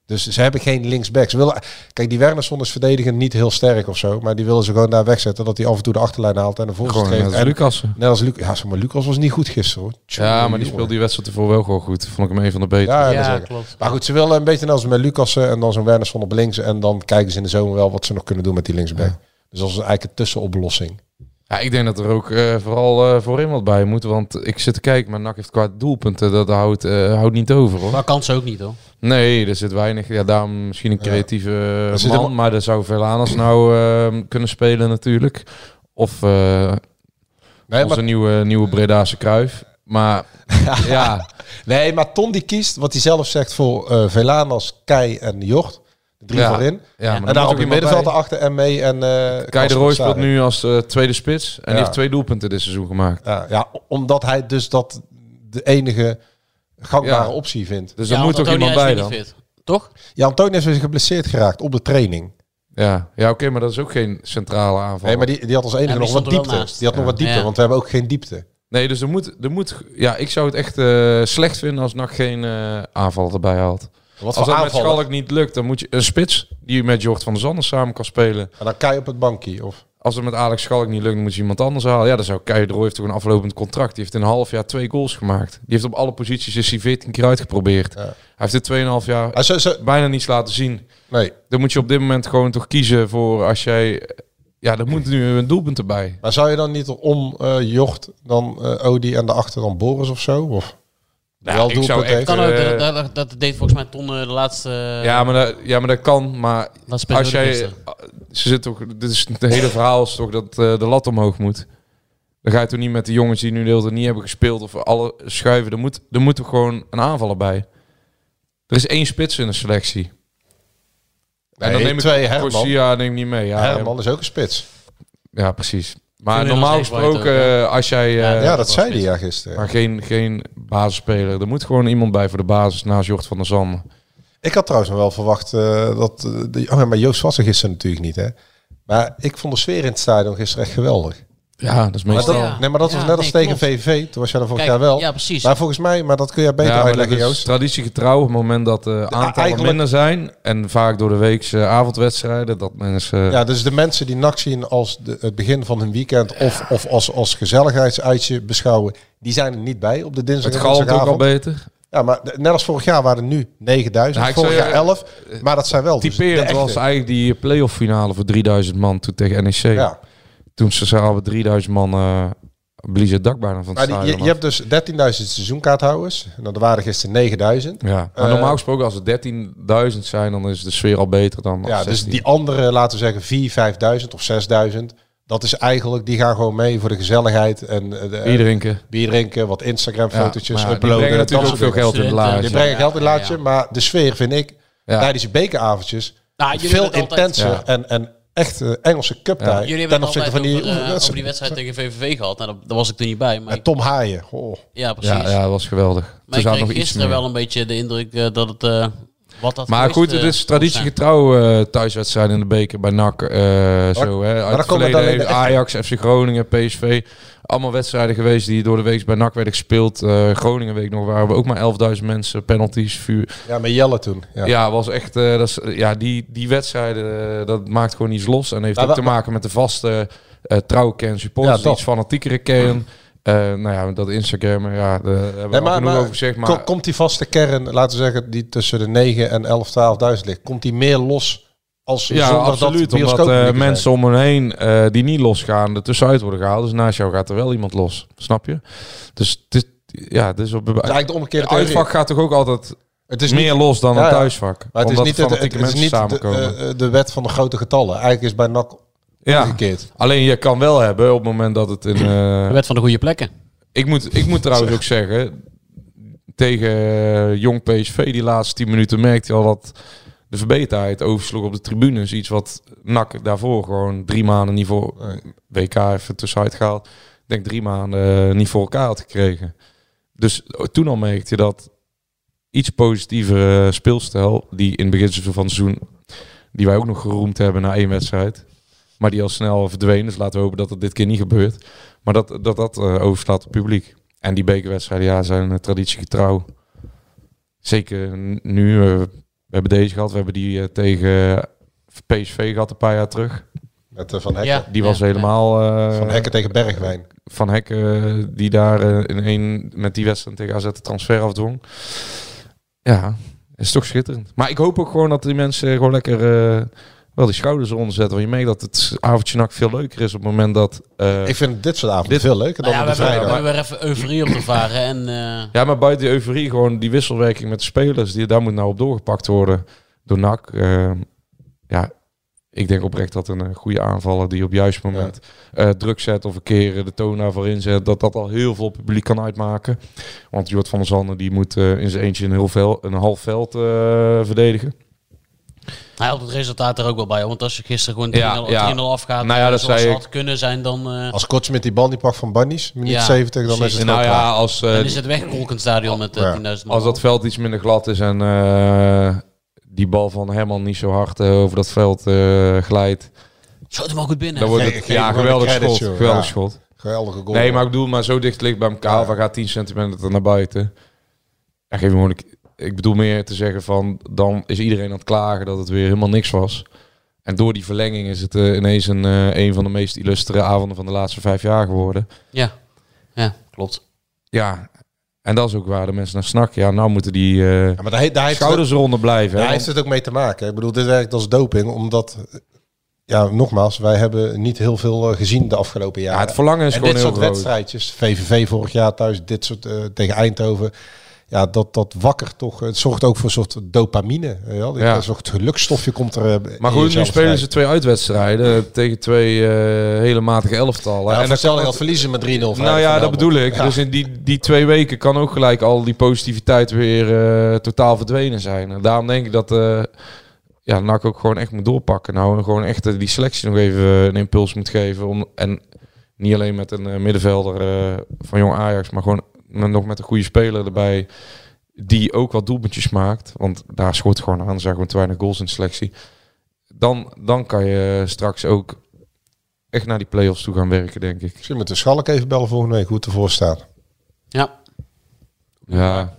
S6: Dus ze hebben geen linksback. Ze willen, kijk, die Wernersson is verdedigend niet heel sterk of zo. Maar die willen ze gewoon daar wegzetten. Dat hij af en toe de achterlijn haalt en de voorzet
S2: Gewoon
S6: geeft.
S2: net als
S6: En,
S2: Lucassen.
S6: net als Lucas. Ja, zeg maar, Lucas was niet goed gisteren hoor.
S2: Ja, maar die
S6: Jongen.
S2: speelde die wedstrijd ervoor wel gewoon goed. Vond ik hem een van de betere.
S6: Ja,
S5: Ja,
S6: dat zeker.
S5: klopt.
S6: Maar goed, ze willen een beetje net als met Lucas eh, en dan zo'n Wernersson op links. En dan kijken ze in de zomer wel wat ze nog kunnen doen met die linksback. Dus dat is eigenlijk een tussenoplossing.
S2: Ja, ik denk dat er ook eh, vooral eh, voorin wat bij moet. Want ik zit te kijken, maar NAC heeft qua doelpunten, dat houdt, eh, houdt niet over hoor.
S5: Maar kan ze ook niet hoor.
S2: Nee, er zit weinig. Ja, daarom misschien een creatieve eh,
S6: zit
S2: man.
S6: helemaal-
S2: Maar daar zou Velanus nou eh, kunnen spelen natuurlijk. Of eh
S6: Nee,
S2: onze nieuwe, nieuwe Bredaanse kruif. Maar ja,
S6: Nee, maar Ton die kiest, wat hij zelf zegt, voor eh Velanas, Kei en Jocht. De Drie
S2: Ja.
S6: voorin.
S2: ja, maar
S6: en daar op het
S2: in
S6: middenveld erachter en mee. En, eh
S2: Kai de
S6: Kasper
S2: Roy speelt
S6: Staring.
S2: nu als eh, tweede spits. En die
S6: Ja.
S2: heeft twee doelpunten dit seizoen gemaakt.
S6: Ja, ja, omdat hij dus dat de enige gangbare
S2: Ja.
S6: optie vindt.
S2: Dus
S5: Ja,
S2: er moet
S5: want
S2: toch
S5: Antonia
S2: iemand
S5: is
S2: bij
S5: weer
S2: dan.
S5: niet fit. Toch?
S6: Ja, Antonio is weer geblesseerd geraakt op de training.
S2: Ja, ja oké, maar dat is ook geen centrale aanval.
S6: Nee, maar die, die had als enige
S5: die
S6: nog wat
S5: stond er wel
S6: diepte.
S5: naast.
S6: Die had nog wat diepte,
S5: Ja.
S6: want we hebben ook geen diepte.
S2: Nee, dus er moet, er moet... Ja, ik zou het echt eh, slecht vinden als NAC geen eh aanval erbij haalt.
S6: Wat
S2: Als
S6: voor
S2: dat met
S6: aanval.
S2: Schalk niet lukt, dan moet je een spits die met Jort van der Zanden samen kan spelen.
S6: En dan Kai op het bankje. Of,
S2: Als het met Alex Schalk niet lukt, dan moet je iemand anders halen. Ja, dan zou Kei de Roy heeft toch een aflopend contract. Die heeft in een half jaar twee goals gemaakt. Die heeft op alle posities is hij 14 keer uitgeprobeerd. Hij heeft dit 2,5 jaar
S6: Ah, zo, zo,
S2: bijna niets laten zien.
S6: nee,
S2: Dan moet je op dit moment gewoon toch kiezen voor als jij... Ja, er moet nu een doelpunt erbij.
S6: maar zou je dan niet om eh, Jocht, dan eh, Odi en daarachter dan Boris of zo? Of
S2: Nou,
S6: wel
S2: ik zou
S6: doelpunt
S2: echt-
S6: heeft?
S5: Kan ook.
S2: Eh,
S5: Dat, dat, dat deed volgens mij Ton eh, de laatste... eh,
S2: Ja, maar dat, ja, maar dat kan. Maar
S5: laatste periode
S2: als jij... eh,
S5: gisteren.
S2: Ze zit toch, dit is het hele verhaal is toch dat eh, de lat omhoog moet. Dan ga je toch niet met de jongens die nu de hele tijd niet hebben gespeeld of alle schuiven. Er moet, er moet toch gewoon een aanvaller bij. Er is één spits in de selectie. en dan
S6: Nee,
S2: neem ik
S6: twee, Herman.
S2: Corsia neem ik niet mee. Ah, Ja,
S6: Herman is ook een spits.
S2: ja precies. Maar
S5: Kunnen we
S2: normaal
S5: nog steeds
S2: gesproken,
S5: buiten,
S2: eh, als jij...
S5: Ja,
S2: eh,
S6: Ja,
S5: dat
S6: dat
S5: was
S6: zei hij
S5: spits.
S6: ja gisteren.
S2: maar geen, geen basisspeler. Er moet gewoon iemand bij voor de basis naast Jort van der Zanden.
S6: Ik had trouwens nog wel verwacht eh, dat... eh, de, oh ja, maar Joost was er gisteren natuurlijk niet, hè. Maar ik vond de sfeer in het stadion gisteren echt geweldig.
S2: Ja, dat is
S6: Maar
S2: meestal...
S6: dat,
S5: ja.
S6: Nee, maar dat
S5: Ja,
S6: was net als
S5: nee,
S6: tegen
S5: klopt.
S6: VVV. Toen was jij er vorig
S5: Kijk,
S6: jaar wel.
S5: Ja, precies.
S6: Maar volgens mij, maar dat kun jij beter
S2: ja, maar
S6: uitleggen,
S2: dat is
S6: Joost.
S2: traditiegetrouw. Op het moment dat de aantallen
S6: eigenlijk-
S2: minder zijn... en vaak door de weekse avondwedstrijden... dat eh, mensen...
S6: Ja, dus de mensen die NAC zien als de, het begin van hun weekend... of, of als, als gezelligheidsuitje beschouwen... die zijn er niet bij op de dinsdag
S2: het
S6: en
S2: galmt ook al
S6: woensdagavond.
S2: beter.
S6: Ja, maar de- net als vorig jaar waren er nu 9000.
S2: Nou, ik
S6: vorig
S2: zou
S6: jaar
S2: je-
S6: 11. Maar dat zijn wel dus de
S2: Typerend was
S6: echte.
S2: eigenlijk die eh, playoff finale voor 3000 man toen tegen NEC.
S6: Ja.
S2: Toen ze zaal met 3000 man eh bliezen het dak bijna van het
S6: Maar die-
S2: stadion
S6: je,
S2: af.
S6: je hebt dus 13.000 seizoenkaarthouders. Nou, er waren gisteren 9000.
S2: Ja, maar
S6: Eh,
S2: normaal gesproken als het 13.000 zijn, dan is de sfeer al beter dan
S6: Ja,
S2: als
S6: dus
S2: 16.
S6: die andere, laten we zeggen, 4, 5000 of 6000. Dat is eigenlijk, die gaan gewoon mee voor de gezelligheid. En eh, de,
S2: Bier drinken.
S6: bier drinken, wat Instagram fotootjes
S2: maar ja, die
S6: uploaden.
S2: brengen
S6: dat
S2: natuurlijk ook
S6: soort
S2: veel
S6: dingen.
S2: geld in de
S5: Studenten.
S2: laars.
S6: Die brengen geld in het
S5: Ja, ja,
S6: laadje. Maar de sfeer vind ik tijdens die bekeravondjes
S5: Nou, jullie
S6: veel
S5: hebben het
S6: intenser
S5: altijd-
S6: en, en echt eh, Engelse cup
S5: Ja.
S6: tijd
S5: Jullie
S6: ten
S5: hebben het
S6: opzichte
S5: altijd
S6: van die,
S5: over, eh,
S6: wedstrijd.
S5: over die wedstrijd tegen VVV gehad. Nou, daar, daar was ik er niet bij. Maar
S6: Met Tom Haaien. Oh.
S5: Ja, precies.
S2: Ja, ja, dat was geweldig.
S5: Maar
S2: Er
S5: ik
S2: zat
S5: kreeg
S2: nog iets
S5: gisteren
S2: meer.
S5: wel een beetje de indruk eh, dat het... eh, wat dat
S2: Maar
S5: geweest,
S2: goed, het is
S5: eh, moet zijn.
S2: traditiegetrouw eh thuiswedstrijd in de beker bij NAC. eh, zo, hè. Uit
S6: dan
S2: het
S6: komen
S2: verleden
S6: dan in
S2: heeft
S6: de echte-
S2: Ajax, FC Groningen, PSV. Allemaal wedstrijden geweest die door de week bij NAC werden gespeeld. Eh Groningen week nog waren we ook maar 11.000 mensen. Penalties, vuur.
S6: Ja, met Jelle toen. Ja.
S2: Ja, was echt, eh, dat is, ja die, die wedstrijden, eh, dat maakt gewoon iets los. En heeft
S6: Maar
S2: ook te
S6: wa-
S2: maken met de vaste eh trouwe kern supporters.
S6: Ja, dat.
S2: iets fanatiekere kern. Eh, nou ja, dat Instagram, ja, daar hebben we
S6: Nee,
S2: al
S6: maar,
S2: genoeg
S6: maar
S2: over gezegd. Maar
S6: kom- komt die vaste kern, laten we zeggen, die tussen de 9 en 11, 12.000 ligt, komt die meer los als
S2: Ja,
S6: zonder
S2: absoluut.
S6: dat
S2: Omdat
S6: bioscoop
S2: eh,
S6: publiek zijn?
S2: mensen om hen heen eh, die niet losgaan, er tussenuit worden gehaald. Dus naast jou gaat er wel iemand los. Snap je? Dus dit, ja, het is op
S6: Het is eigenlijk de omgekeerde theorie.
S2: uitvak gaat toch ook altijd
S6: Het is
S2: meer
S6: niet-
S2: los dan
S6: Ja,
S2: een
S6: ja.
S2: thuisvak.
S6: Maar het is
S2: omdat
S6: niet, het,
S2: fanatieke
S6: het is
S2: mensen
S6: niet de,
S2: samenkomen.
S6: eh, eh, de wet van de grote getallen. Eigenlijk is bij NAC
S2: ja.
S6: omgekeerd.
S2: Alleen je kan wel hebben op het moment dat het in.
S6: [CLEARS THROAT]
S2: eh,
S5: De wet van de goede plekken.
S2: ik, moet, ik moet trouwens ook zeggen. Tegen eh, jong PSV, die laatste 10 minuten, merkte je al dat de verbeterheid oversloeg op de tribunes. Iets wat NAC daarvoor gewoon drie maanden niet voor. WK even tussenuit gehaald. Ik denk drie maanden eh, niet voor elkaar had gekregen. Dus toen al merkte je dat iets positiever eh, speelstijl, die in het begin van het seizoen, die wij ook nog geroemd hebben na één wedstrijd, maar die al snel verdween. Dus laten we hopen dat dat dit keer niet gebeurt. Maar dat dat, dat eh, overslaat op het publiek. En die bekerwedstrijden ja, zijn eh, traditiegetrouw. Zeker nu. eh, we hebben deze gehad, we hebben die eh, tegen PSV gehad een paar jaar terug.
S6: Met eh, Van Hekken.
S5: Ja.
S2: Die was helemaal... eh,
S6: Van Hekken tegen Bergwijn.
S2: van Hekken die daar eh, in één met die wedstrijd tegen AZ de transfer afdwong. Ja, is toch schitterend. Maar ik hoop ook gewoon dat die mensen gewoon lekker eh, wel die schouders eronder zetten. Want je merkt dat het avondje nak veel leuker is op het moment dat... eh,
S6: Ik vind dit soort avonden
S2: dit-
S6: veel leuker dan
S5: Nou ja,
S6: op
S5: we
S6: de
S5: hebben, we
S6: vrijdag.
S5: hebben weer even euforie op te varen. En, eh,
S2: Ja, maar buiten die euforie gewoon die wisselwerking met de spelers. Die, daar moet nou op doorgepakt worden door NAC. Eh, ja, ik denk oprecht dat een eh, goede aanvaller die op het juiste moment eh, druk zet of een keer eh, de toon daarvoor inzet, dat dat al heel veel publiek kan uitmaken. Want Jort van der Zanden die moet eh, in zijn eentje een, heel vel, een half veld eh, verdedigen.
S5: hij helpt het resultaat er ook wel bij. hoor. Want als je gisteren gewoon
S2: Ja,
S5: 3-0
S2: ja.
S5: 3-0 afgaat,
S2: Nou ja,
S5: eh,
S2: dat
S5: zoals
S2: zei
S5: had kunnen zijn, dan, eh,
S6: Als Kots met die bal die pakt van Bannies, minuut
S5: Ja,
S6: 70, dan
S5: precies.
S6: is het
S2: nou
S6: wel klaar.
S2: ja, als, eh,
S5: dan is het wegkolkend stadion met eh,
S6: Ja.
S5: 10.000 man.
S2: als dat veld iets minder glad is en eh, die bal van Herman niet zo hard eh, over dat veld eh, glijdt,
S5: Schoot hem al goed binnen.
S2: dan wordt
S6: Nee,
S2: het
S6: geef
S2: ja,
S6: gewoon de
S2: geweldig
S6: credits,
S2: schot.
S6: joh.
S2: Geweldig
S6: Ja.
S2: schot.
S6: Geweldige goal.
S2: Nee, maar ik bedoel, maar zo dicht ligt bij elkaar. Of hij gaat 10 centimeter naar buiten. Ja, geef hem gewoon. Ik, ik bedoel meer te zeggen van, dan is iedereen aan het klagen dat het weer helemaal niks was. En door die verlenging is het eh, ineens een, eh, een van de meest illustere avonden van de laatste vijf jaar geworden.
S5: Ja. ja, klopt.
S2: Ja, en dat is ook waar de mensen naar snakken. Ja, nou moeten die eh,
S6: Ja, maar daar, heeft- daar heeft het-
S2: schouders eronder blijven.
S6: Daar
S2: hè?
S6: heeft het ook mee te maken. Ik bedoel, dit werkt als doping, omdat... Ja, nogmaals, wij hebben niet heel veel eh, gezien de afgelopen
S2: ja,
S6: jaren.
S2: het verlangen is
S6: en
S2: gewoon
S6: dit
S2: heel
S6: soort
S2: groot.
S6: wedstrijdjes, VVV vorig jaar thuis, dit soort eh, tegen Eindhoven. Ja, dat, dat wakker toch. Het zorgt ook voor een soort dopamine. weet je wel.
S2: Ja.
S6: Een soort gelukstofje komt er. eh, in
S2: Maar goed, nu
S6: jezelf
S2: spelen
S6: vrij.
S2: ze twee uitwedstrijden eh, tegen twee eh, hele matige elftallen.
S6: Ja, en
S2: en dan
S6: hetzelfde geld verliezen met 3-0.
S2: Nou ja, dat bedoel ik. Dus in die, die twee weken kan ook gelijk al die positiviteit weer eh, totaal verdwenen zijn. En daarom denk ik dat eh ja, NAC ook gewoon echt moet doorpakken. Nou, en gewoon echt eh, die selectie nog even eh, een impuls moet geven. Om, en niet alleen met een eh, middenvelder eh, van jong Ajax, maar gewoon met- nog met een goede speler erbij. Die ook wat doelpuntjes maakt. Want daar schort gewoon aan. Er zijn gewoon te weinig goals in de selectie. Dan, dan kan je eh, straks ook echt naar die play-offs toe gaan werken, denk ik.
S6: Misschien moeten we Schalk even bellen volgende week hoe het ervoor staat.
S5: Ja.
S2: Ja,
S5: Heb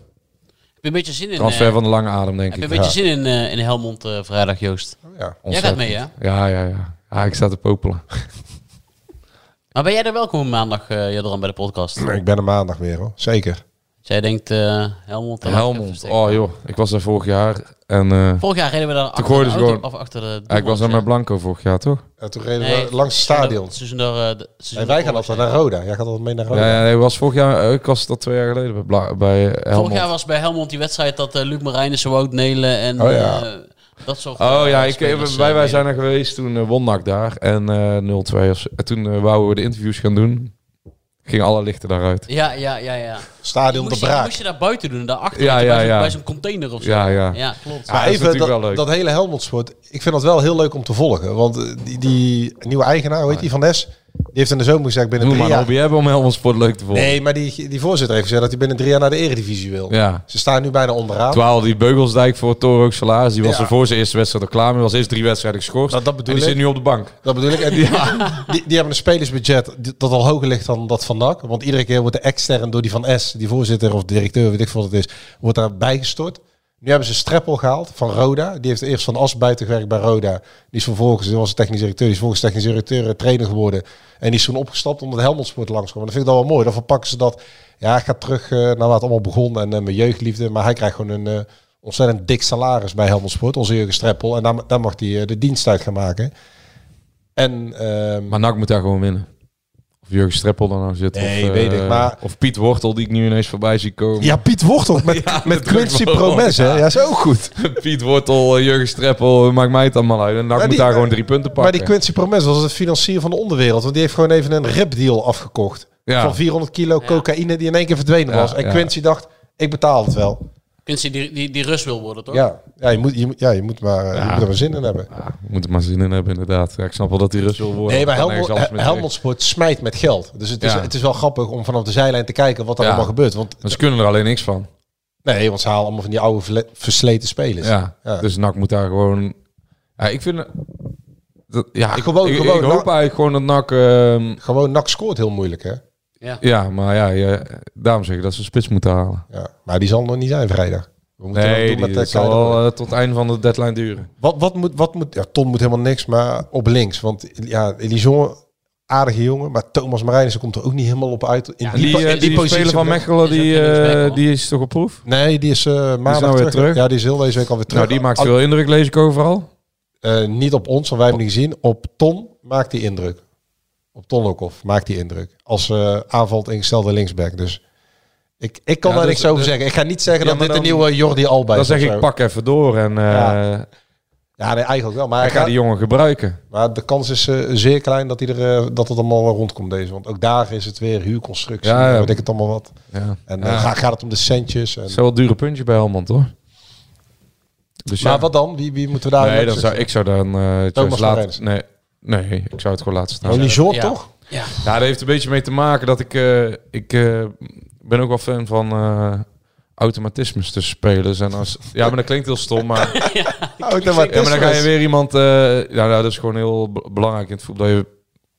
S5: je een beetje zin in,
S2: Transfer
S5: eh,
S2: van de lange adem, denk
S5: heb je
S2: ik.
S5: een beetje zin in, eh, in Helmond eh, vrijdag, Joost?
S2: Nou
S6: Ja.
S5: Jij gaat mee, hè?
S2: Ja, ja, ja. Ah, ik sta te popelen.
S5: Maar ben jij er welkom maandag, eh Jadran, bij de podcast?
S6: Ik ben er maandag weer hoor. Zeker.
S5: Als jij denkt, eh Helmond... dan laat ik even
S2: Helmond.
S5: steken.
S2: Oh joh, ik was daar vorig jaar. En eh,
S5: Vorig jaar reden we daar achter
S2: gooiden
S5: de
S2: ze
S5: auto-
S2: gewoon-
S5: of achter de
S2: ja, ik was daar met Blanco vorig jaar, toch?
S6: En toen reden we langs het stadion.
S5: eh,
S6: En wij gaan altijd naar Roda. Jij gaat altijd mee naar
S2: Ja,
S6: Roda.
S2: ja nee, was vorig jaar, eh, ik was dat twee jaar geleden bij, Bla- bij eh, Helmond.
S5: Vorig jaar was bij Helmond die wedstrijd dat eh, Luc Marijnissen, Wout Nelen en
S6: Oh ja.
S5: eh, dat soort
S2: Oh
S5: eh,
S2: ja, ik,
S5: spelers, eh,
S2: wij, wij
S5: mee-
S2: zijn er geweest toen eh, won NAC daar. En eh 0-2. was- En toen eh wouden we de interviews gaan doen. Gingen alle lichten daaruit.
S5: Ja, ja, ja, ja.
S6: Stadion
S5: moest
S6: de
S5: Je,
S6: Braak.
S5: moest je daar buiten doen, daarachter.
S2: Ja,
S5: achter
S2: ja,
S5: bij, zo'n-
S2: ja.
S5: bij zo'n container of zo.
S2: Ja, ja.
S5: klopt.
S2: Ja,
S6: Maar
S2: dat is
S6: even dat,
S2: natuurlijk wel leuk.
S6: dat hele Helmond-sport, ik vind dat wel heel leuk om te volgen. Want eh, die, die nieuwe eigenaar, hoe heet die, Van Nes, die heeft in de zomer gezegd binnen
S2: Moet
S6: drie
S2: Ah, maar een
S6: jaar...
S2: hobby hebben om Helmond Sport leuk te volgen.
S6: Nee, maar die, die voorzitter heeft gezegd dat hij binnen drie jaar naar de eredivisie wil.
S2: Ja.
S6: Ze staan nu bijna onderaan.
S2: Terwijl die Beugelsdijk voor Toro ook Salaris, die was
S6: Ja.
S2: er voor zijn eerste wedstrijd al klaar mee. Was eerst drie wedstrijden geschorst.
S6: Nou, dat bedoel
S2: en die
S6: ik.
S2: zit nu op de bank.
S6: Dat bedoel ik. En die, die, die hebben een spelersbudget die- dat al hoger ligt dan dat van NAC. Want iedere keer wordt de extern door die van S, die voorzitter of directeur, weet ik veel wat het is, wordt daar bijgestort. Nu hebben ze Streppel gehaald van Roda. Die heeft eerst van As buiten gewerkt bij Roda. Die is vervolgens, die was de technisch directeur, die is volgens technisch directeur eh, trainer geworden. En die is toen opgestapt omdat Helmond Sport langskwam. Dat vind ik dan wel mooi. Dan verpakken ze dat. Ja, ik ga terug eh, naar waar het allemaal begon en eh, mijn jeugdliefde. Maar hij krijgt gewoon een eh, ontzettend dik salaris bij Helmond Sport. Onze Jurgen Streppel. En daar, daar mag hij eh, de dienst uit gaan maken. En, ehm,
S2: Maar NAC moet daar gewoon winnen. Of Jurgen Streppel dan nou zit.
S6: Nee,
S2: of, eh,
S6: weet ik, maar-
S2: Of Piet Wortel, die ik nu ineens voorbij zie komen.
S6: [LAUGHS] ja, Piet Wortel met, met
S2: drukt
S6: Quincy
S2: wel op,
S6: Promes. hè?
S2: ja.
S6: Ja, is ook goed.
S2: [LAUGHS] Piet Wortel, eh, Jurgen Streppel, maakt mij het allemaal uit. En NAC
S6: Maar
S2: moet
S6: die-
S2: daar gewoon drie punten pakken.
S6: Maar die Quincy Promes was een financier van de onderwereld. Want die heeft gewoon even een ripdeal afgekocht.
S2: Ja.
S6: Van 400 kilo cocaïne die in één keer verdwenen
S2: Ja,
S6: was. En
S2: ja.
S6: Quincy dacht, ik betaal het wel.
S5: Kunst die, die, die rust wil worden, toch?
S6: Ja, ja, je, moet, je, moet- ja, je, moet maar, eh, je moet er maar zin in hebben.
S2: Ja, moet er maar zin in hebben, inderdaad. Ja, ik snap wel dat hij rust wil worden.
S6: Nee, maar
S2: Kan nergens
S6: Helmond,
S2: anders mee
S6: Hel- Helmond Sport smijt met geld. Dus het is,
S2: Ja.
S6: het is wel grappig om vanaf de zijlijn te kijken wat er
S2: Ja.
S6: allemaal gebeurt. Want,
S2: terecht. Maar Ze kunnen er alleen niks van.
S6: nee, want ze halen allemaal van die oude verle- versleten spelers.
S2: Ja.
S6: Ja.
S2: Dus NAC moet daar gewoon... Ja, ik vind... Dat, ja,
S6: Ik hoop ook-
S2: ik,
S6: gewoon-
S2: ik hoop eigenlijk gewoon dat NAC... ehm,
S6: Gewoon, NAC scoort heel moeilijk, hè?
S5: Ja.
S2: ja, maar ja, je, daarom zeg ik dat ze een spits moeten halen.
S6: Ja. Maar die zal nog niet zijn vrijdag. We moeten dat
S2: Nee,
S6: doen
S2: die,
S6: met,
S2: dat
S6: eh,
S2: zal
S6: Kleider.
S2: wel eh, tot het einde van de deadline duren.
S6: Wat, wat moet, wat moet, ja, Tom moet helemaal niks, maar op links. Want ja, die jongen, aardige jongen, maar Thomas Marijnissen komt er ook niet helemaal op uit. In
S5: Ja,
S2: Die,
S6: po-
S2: eh,
S6: in
S2: die, speler van Mechelen,
S5: Is ook
S2: die,
S5: geen linksback,
S2: eh,
S5: hoor.
S2: die is toch op proef?
S6: Nee, die is eh, maandag
S2: nou weer
S6: terug.
S2: terug?
S6: Ja, die is heel deze week alweer terug.
S2: Nou, die maakt
S6: Al-
S2: veel indruk, lees ik overal.
S6: eh, niet op ons, want wij hebben hem niet gezien. Op Ton maakt die indruk. Op Ton Lokhoff maakt die indruk. Als eh aanvalt ingestelde linksback. Dus ik, ik kan
S2: Ja,
S6: daar
S2: dus-
S6: niks over
S2: dus-
S6: zeggen. Ik ga niet zeggen
S2: Ja,
S6: dat
S2: maar
S6: dit de
S2: dan-
S6: nieuwe Jordi Alba is.
S2: Dan zeg
S6: of
S2: ik,
S6: zo.
S2: pak even door en eh,
S6: Ja. Ja, nee, eigenlijk wel. Maar, hij
S2: ik ga
S6: gaat,
S2: die jongen gebruiken.
S6: maar de kans is eh, zeer klein dat, hij er, eh, dat het allemaal rondkomt deze. Want ook daar is het weer huurconstructie. eh,
S2: Ja, ja.
S6: Weet ik het allemaal wat.
S2: Ja.
S6: En
S2: Ja.
S6: eh, ga- gaat het om de centjes. En...
S2: Het is wel een dure puntje bij Helmond, hoor. Dus
S6: Maar
S2: ja.
S6: wat dan? Wie, wie moeten we daar
S2: nee,
S6: met-
S2: dan zou, ik zou dan... eh Thomas
S6: Marijnis.
S2: laten, nee, nee, ik zou het gewoon laten staan.
S6: Oh, Lijon
S5: Ja.
S6: toch?
S5: Ja.
S2: Ja, dat heeft een beetje mee te maken dat ik... eh, ik eh, ben ook wel fan van eh, automatismes tussen spelers. En als, ja, maar dat klinkt heel stom, maar...
S6: Ook dan maar
S2: Ja, maar dan ga je weer iemand... eh, ja, nou, dat is gewoon heel be- belangrijk in het voetbal. Dat je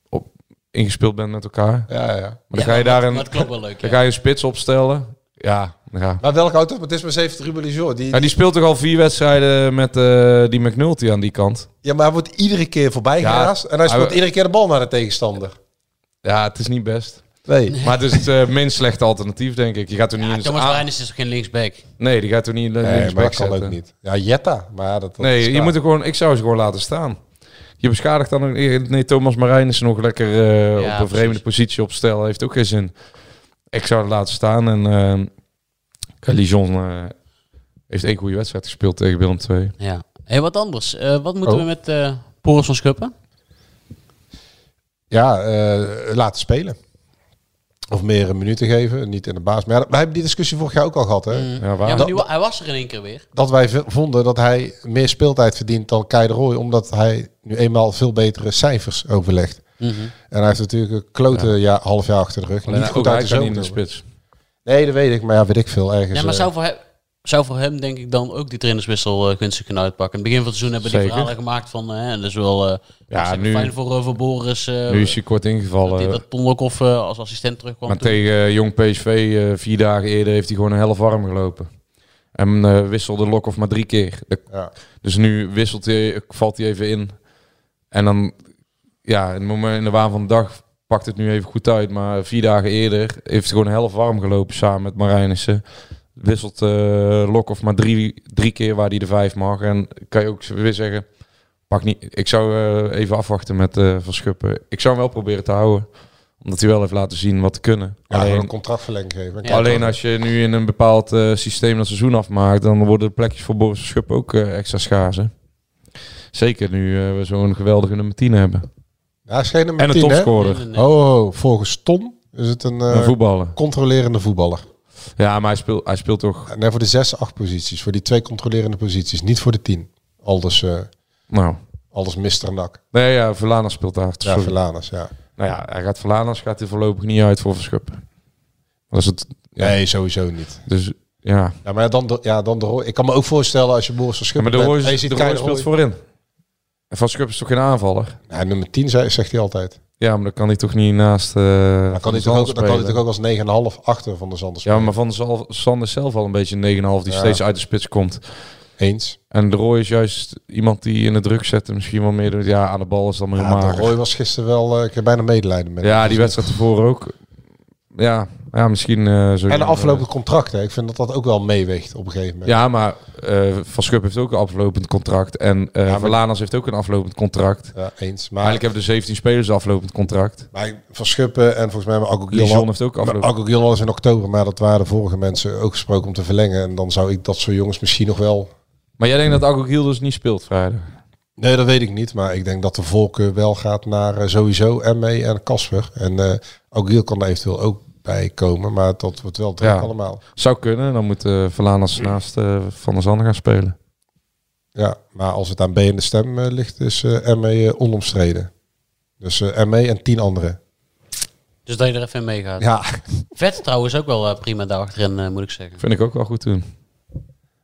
S2: op, ingespeeld bent met elkaar. Maar
S6: Ja, ja.
S2: dan ga je daar een,
S5: Maar het klopt wel
S2: [LAUGHS]
S5: leuk,
S2: dan
S5: ja.
S2: ga je een spits opstellen. Ja, ja.
S6: Maar welk automatisme heeft Ruben Lijon? Die,
S2: Ja, die speelt toch al vier wedstrijden met eh, die McNulty aan die kant.
S6: Ja, maar hij wordt iedere keer voorbij
S2: Ja,
S6: geraast. En hij speelt
S2: hij-
S6: iedere keer de bal naar de tegenstander.
S2: Ja, het is niet best.
S6: Nee.
S2: Maar het is het eh, minst slechte alternatief, denk ik. Je gaat er niet
S5: Ja,
S2: eens
S5: Thomas
S2: aan-
S5: Marijnis is ook geen linksback.
S2: Nee, die gaat er niet in de
S6: Nee, maar
S2: linksback
S6: ik kan ook
S2: zetten.
S6: niet. Ja, Jetta. Maar ja, dat, dat is
S2: Nee, je
S6: klaar.
S2: moet er gewoon, ik zou ze gewoon laten staan. Je beschadigt dan... ook- Nee, Thomas Marijn is nog lekker eh, op een
S5: precies.
S2: vreemde positie opstellen. Heeft ook geen zin. Ik zou het laten staan. En eh, Lijon eh, heeft één goede wedstrijd gespeeld tegen Willem II.
S5: Ja. Hey, wat anders. Eh, wat moeten
S2: Oh.
S5: we met eh Poris van Schuppen?
S6: Ja, eh, laten spelen. Of meer eh, minuten geven. Niet in de baas. Maar ja, we hebben die discussie vorig jaar ook al gehad. Hè?
S2: Ja,
S5: Ja,
S2: waar?
S5: maar nu, hij was er in één keer weer.
S6: dat wij v- vonden dat hij meer speeltijd verdient dan Kai de Roy, omdat hij nu eenmaal veel betere cijfers overlegt. En hij heeft natuurlijk een klote ja, half jaar achter de rug.
S2: Mhm. Alleen,
S6: niet
S2: ook
S6: goed uit
S2: hij
S6: de
S2: kan niet
S6: zomer.
S2: in de spits.
S6: Nee, dat weet ik, maar ja, weet ik veel ergens.
S5: Ja, maar
S6: eh,
S5: zou voor, hem, zou voor hem denk ik dan ook die trainerswissel eh, gunstig kunnen uitpakken. In het begin van het seizoen hebben we die
S2: Zeker.
S5: verhalen gemaakt van... eh, en dat is wel eh, hartstikke
S2: nu-
S5: fijn voor, eh, voor Boris. eh,
S2: Nu is hij kort
S5: dat, hij-
S2: ingevallen.
S5: dat Ton Lokhoff eh, als assistent terugkwam.
S2: Maar
S5: toen.
S2: tegen eh, Jong PSV, eh, vier dagen eerder, heeft hij gewoon een helft warm gelopen. En eh, wisselde Lokhoff maar drie keer. De-
S6: Ja.
S2: Dus nu wisselt hij, valt hij even in. En dan, ja, in, het moment, in de waan van de dag pakt het nu even goed uit. Maar vier dagen eerder heeft hij gewoon een helft warm gelopen samen met Marijnissen. Wisselt eh Lokhoff maar drie, drie keer waar hij de vijf mag. En kan je ook weer zeggen, pak niet. Ik zou eh, even afwachten met eh Van Schuppen. Ik zou hem wel proberen te houden. Omdat hij wel heeft laten zien wat te kunnen.
S6: ja, gewoon een
S2: alleen,
S6: contractverlenging geven.
S5: Ja,
S2: alleen
S5: toch?
S2: als je nu in een bepaald eh, systeem dat seizoen afmaakt, dan worden de plekjes voor Boris Van Schuppen ook eh, extra schaars. hè. Zeker nu eh, we zo'n geweldige nummer 10 hebben.
S6: Ja, hij is geen nummer
S2: En een
S6: 10, hè?
S5: eh,
S2: topscorer.
S5: Nee, nee, nee.
S6: Oh, oh, volgens Tom Is het een,
S2: Een
S6: eh,
S2: voetballer.
S6: controlerende voetballer?
S2: Ja, maar hij speelt, hij speelt toch...
S6: Nee, voor de zes, acht posities. Voor die twee controlerende posities. Niet voor de tien. Aldus, eh
S2: Nou,
S6: Aldus Mr. Nak.
S2: nee, ja, Verlanas speelt daar.
S6: Ja,
S2: sorry.
S6: Verlaners, ja.
S2: Nou ja, hij gaat Verlanas gaat hij voorlopig niet uit voor Verschuppen. Dat is het... ja,
S6: Nee, sowieso niet.
S2: Dus ja...
S6: Ja, maar dan de, ja, dan de Roy. Ik kan me ook voorstellen als je Boris van
S2: Ja, maar
S6: Schuppen
S2: de
S6: bent
S2: Roy,
S6: en je
S2: de
S6: ziet
S2: Roy
S6: Kai de
S2: speelt
S6: Roy.
S2: voorin. En Van Schuppen is toch geen aanvaller?
S6: Ja, nummer 10 zei- zegt hij altijd.
S2: Ja, maar dan kan hij toch niet naast... eh
S6: Dan kan, hij toch ook, dan kan hij toch ook als 9,5 achter van de Zanders
S2: Ja, maar Van der Zal- Sander is zelf al een beetje een 9,5 die
S6: Ja.
S2: steeds uit de spits komt.
S6: Eens.
S2: En de Roy is juist iemand die in de druk zet en misschien wel meer... doet. Ja, aan de bal is dan maar
S6: Ja,
S2: helemaal.
S6: de Roy was gisteren wel... eh, ik heb bijna medelijden met
S2: Ja,
S6: hem.
S2: die wedstrijd tevoren ook. Ja, ja misschien... eh zo
S6: En de afgelopen contracten. Ik vind dat dat ook wel meeweegt op een gegeven moment.
S2: Ja, maar eh, Van Schuppen heeft ook een aflopend contract. En eh
S6: maar-
S2: Verlanas heeft ook een aflopend contract.
S6: Ja, eens. Maar,
S2: Eigenlijk hebben de 17 spelers een aflopend contract.
S6: maar Van Schuppen en volgens mij hebben
S2: Lijon
S6: Agogil
S2: heeft ook afgelopen.
S6: Agogil was in oktober. Maar dat waren de vorige mensen ook gesproken om te verlengen. En dan zou ik dat soort jongens misschien nog wel...
S2: Maar jij denkt dat Agogiel dus niet speelt vrijdag?
S6: Nee, dat weet ik niet. Maar ik denk dat de voorkeur wel gaat naar eh, sowieso Emme en Casper. En eh Agogil kan er eventueel ook bij komen. Maar dat wordt wel druk
S2: Ja.
S6: allemaal.
S2: Zou kunnen. Dan moet eh Verlanas naast eh, Van der Zanden gaan spelen.
S6: Ja, maar als het aan B in de stem eh, ligt, is eh ME eh, onomstreden. Dus eh ME en tien anderen.
S5: Dus dat je er even in meegaat.
S6: Ja,
S5: Vet trouwens ook wel eh, prima daar achterin, eh, moet ik zeggen.
S2: Vind ik ook wel goed doen.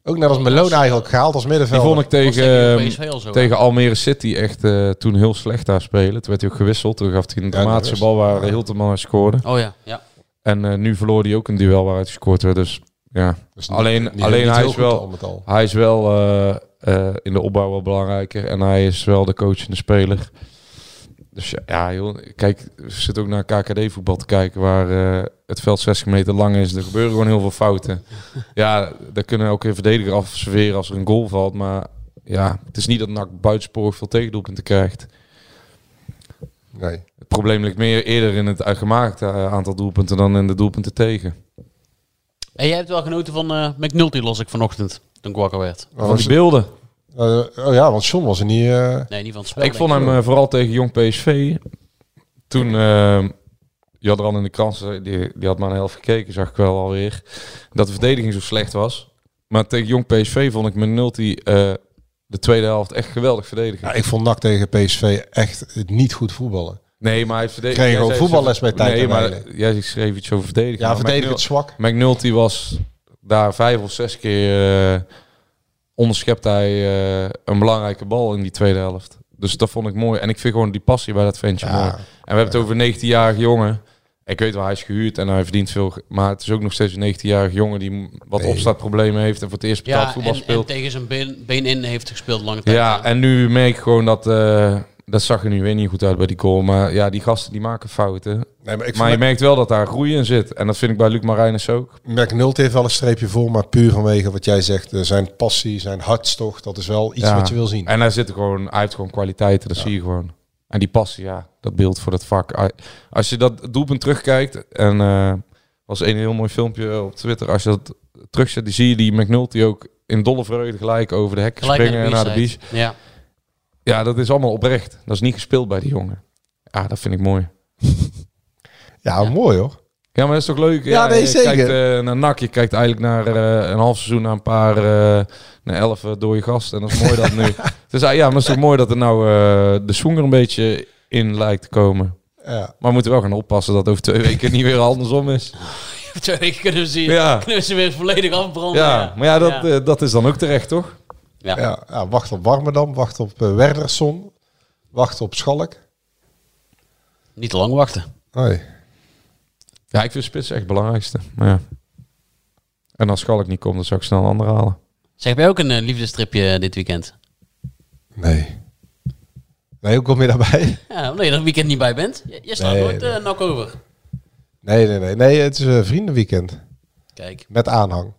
S6: ook net als Melona eigenlijk gehaald als
S2: Die
S6: middenvelder.
S2: vond ik
S5: Was tegen
S2: tegen, ehm,
S5: PSV al zo, hè?
S2: tegen Almere City echt eh, toen heel slecht daar spelen. Toen werd hij ook gewisseld. Toen gaf hij een dramatische
S6: rust.
S2: bal waar Hilterman uit scoorde.
S5: Oh ja, ja.
S2: En eh, nu verloor hij ook een duel waaruit gescoord werd. Dus ja,
S6: Dus niet-
S2: alleen,
S6: niet-
S2: alleen
S6: niet
S2: hij,
S6: heel
S2: is
S6: goed
S2: wel,
S6: al met al.
S2: hij is wel eh, eh, in de opbouw wel belangrijker. En hij is wel de coach en de speler. Dus ja, ja joh, kijk, we zitten ook naar KKD-voetbal te kijken... waar eh, het veld 60 meter lang is. Er gebeuren gewoon heel veel fouten. ja, daar kunnen ook een verdediger afserveren als er een goal valt. Maar ja, het is niet dat NAC buitensporig veel tegendoelpunten krijgt.
S6: Nee.
S2: Het probleem ligt meer eerder in het gemaakte eh, aantal doelpunten... dan in de doelpunten tegen.
S5: En jij hebt wel genoten van eh McNulty, los ik vanochtend, toen ik wakker werd.
S2: Van die beelden.
S6: Eh, oh ja, want John was er niet... eh,
S5: Nee, niet van het spel.
S2: Ik vond
S5: denk
S2: hem eh, vooral tegen Jong PSV. Toen, eh, je had er al in de krant, eh, die, die had maar een helft gekeken, zag ik wel alweer. Dat de verdediging zo slecht was. Maar tegen Jong PSV vond ik mijn Nulti eh, de tweede helft echt geweldig verdedigen.
S6: ja, ik vond NAC tegen PSV echt niet goed voetballen.
S2: Nee, maar hij verdedigde.
S6: Kreeg
S2: jij
S6: gewoon
S2: zei iets
S6: voetballes bij
S2: over-
S6: tijd
S2: Nee,
S6: en
S2: maar
S6: wijle.
S2: jij schreef iets over verdedigen.
S6: Ja,
S2: Maar
S6: verdedigend zwak.
S2: McNul- McNulty was daar vijf of zes keer eh onderschept hij eh, een belangrijke bal in die tweede helft. Dus dat vond ik mooi. En ik vind gewoon die passie bij dat ventje mooi. En we hebben het over een 19-jarige jongen. Ik weet wel, hij is gehuurd en hij verdient veel. ge- Maar het is ook nog steeds een 19-jarige jongen die m- wat opstartproblemen heeft en voor het eerst betaald
S5: ja,
S2: voetbal
S5: en, en
S2: speelt.
S5: tegen zijn been, been in heeft gespeeld lange tijd.
S2: Ja, en nu merk ik gewoon dat... eh, dat zag er nu weer niet goed uit bij die goal. Maar ja, die gasten die maken fouten.
S6: Nee, maar ik
S2: Maar je
S6: vond
S2: merkt wel dat daar groei in zit. En dat vind ik bij Luc Marijnus ook.
S6: McNulty heeft wel een streepje voor, maar puur vanwege wat jij zegt. eh, zijn passie, zijn hartstocht, dat is wel iets
S2: Ja.
S6: wat je wil zien.
S2: En hij, zit gewoon, hij heeft gewoon kwaliteiten, dat zie je gewoon. En die passie, ja, dat beeld voor dat vak. Ai- Als je dat doelpunt terugkijkt, en eh was een heel mooi filmpje op Twitter. Als je dat terugzet, dan zie je die McNulty ook in dolle vreugde gelijk over de hekken
S5: Gelijk
S2: springen naar de beach.
S5: B-side. Ja.
S2: Ja, dat is allemaal oprecht. Dat is niet gespeeld bij die jongen. Ja, dat vind ik mooi.
S6: Ja, mooi hoor.
S2: Ja, maar dat is toch leuk?
S6: Ja, nee,
S2: je
S6: zeker.
S2: kijkt eh, naar NAC, je kijkt eigenlijk naar eh, een half seizoen, naar een paar, eh, naar elf door dode gasten. En dat is mooi dat
S6: [LAUGHS]
S2: nu. Dus ja, maar het is toch mooi dat er nou eh, de swing er een beetje in lijkt te komen.
S6: Ja.
S2: Maar we moeten wel gaan oppassen dat over twee weken niet weer andersom
S5: [LAUGHS]
S2: is.
S5: Twee weken kunnen we, ze,
S2: Ja.
S5: kunnen we ze weer volledig afbranden.
S2: Ja, maar ja, dat,
S5: Ja.
S2: eh, dat is dan ook terecht, toch?
S5: Ja.
S6: Ja, ja, wacht op Warmerdam, wacht op eh, Werdersson, wacht op Schalk.
S5: Niet te lang wachten.
S6: Nee.
S2: Ja, ik vind spits echt het belangrijkste. Maar ja. En als Schalk niet komt, dan zou ik snel een ander halen.
S5: Zeg, heb jij ook een eh, liefdestripje dit weekend?
S6: Nee. Nee, hoe kom je daarbij?
S5: Ja, omdat je er weekend niet bij bent. J- Jij staat
S6: Nee,
S5: nooit
S6: nee.
S5: eh nak over.
S6: [LAUGHS] Nee, nee, nee. Nee, het is een vriendenweekend.
S5: Kijk.
S6: Met aanhang.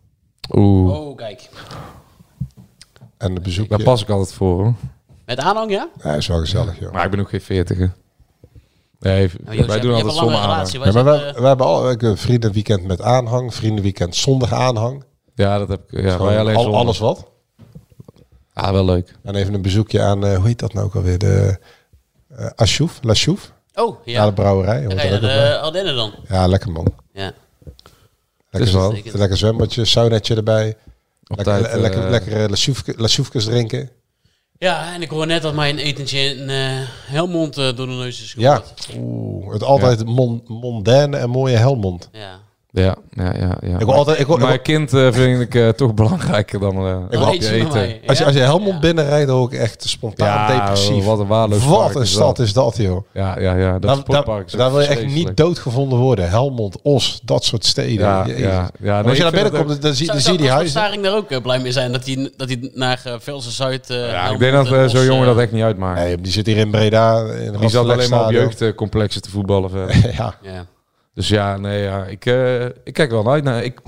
S2: Oeh,
S5: Oh, kijk.
S6: En de bezoek.
S2: daar pas ik altijd voor, hoor.
S5: Met aanhang, ja? Oh,
S6: Ja, is wel gezellig, joh.
S2: Maar ik ben ook geen veertiger. Nee,
S5: Nou, Joost,
S2: wij
S5: je
S2: doen
S5: hebt- je hebt
S2: altijd
S5: een
S2: zonder
S5: lange
S2: aan.
S5: relatie.
S6: Ja,
S5: Wij
S6: maar
S5: zijn,
S6: we, we hebben al ook een vriendenweekend met aanhang, vriendenweekend zonder aanhang.
S2: Ja, dat heb ik. Ja,
S6: Gewoon
S2: wij alleen
S6: al-
S2: zonder.
S6: alles wat.
S2: Ah, wel leuk.
S6: En even een bezoekje aan, eh, hoe heet dat nou ook alweer? De eh Ashouf, La Chouf.
S5: eh, Oh, ja.
S6: Naar de brouwerij. hoort
S5: Ga je
S6: er ook
S5: naar
S6: nog bij.
S5: de eh, Ardennen dan?
S6: Ja, lekker man.
S5: Ja.
S6: Lekker
S5: Dus-
S6: man. Lekker zwembadje, saunetje erbij. Lekker,
S2: tijd,
S6: le- lekker,
S2: eh,
S6: lekker eh, lasjoefke- lasjoefkes drinken.
S5: Ja, en ik hoor net dat mijn etentje in eh, Helmond eh, door de neus is
S6: Ja.
S5: gegooid.
S6: Oeh, het altijd mon, mondaine en mooie Helmond.
S5: Ja.
S2: Ja, ja, ja. ja.
S6: Ik wil altijd- ik wil- ik
S2: Mijn
S6: wil-
S2: kind eh, vind ik eh, toch belangrijker dan eh
S6: wil-
S2: hapje
S5: Eet je maar mee.
S6: Als je,
S5: Ja.
S6: als je Helmond binnenrijdt, dan word ik echt spontaan
S2: Ja,
S6: depressief.
S2: wat een waardeloos
S6: Wat
S2: park
S6: een
S2: is
S6: stad
S2: dat.
S6: is dat, joh.
S2: Ja, ja, ja. Dat
S6: Daar, daar,
S2: sportpark is ook
S6: daar wil je echt
S2: vreselijk.
S6: niet doodgevonden worden. Helmond, Os, dat soort steden.
S2: Ja,
S6: Jezus.
S2: ja, ja.
S6: Maar
S2: Nee, ik
S6: als je daar
S2: vind dat
S6: binnenkomt, dan,
S2: ook-
S6: zie, dan
S5: Zou, zou
S6: zie je die
S5: Casper
S6: huizen.
S5: Staring daar ook eh, blij mee zijn dat hij, dat hij naar eh, Velsen Zuid... eh,
S2: Ja, ik
S5: Helmond
S2: denk dat
S5: en
S2: eh, zo'n
S5: Os,
S2: jongen
S5: eh,
S2: dat echt niet uitmaakt.
S6: Nee, die zit hier in Breda. In
S2: die zat alleen maar op jeugdcomplexen te voetballen. verder.
S6: [LAUGHS] ja.
S5: Ja.
S2: Dus ja, nee, ja. Ik, eh, ik kijk er wel naar uit. Nou, ik,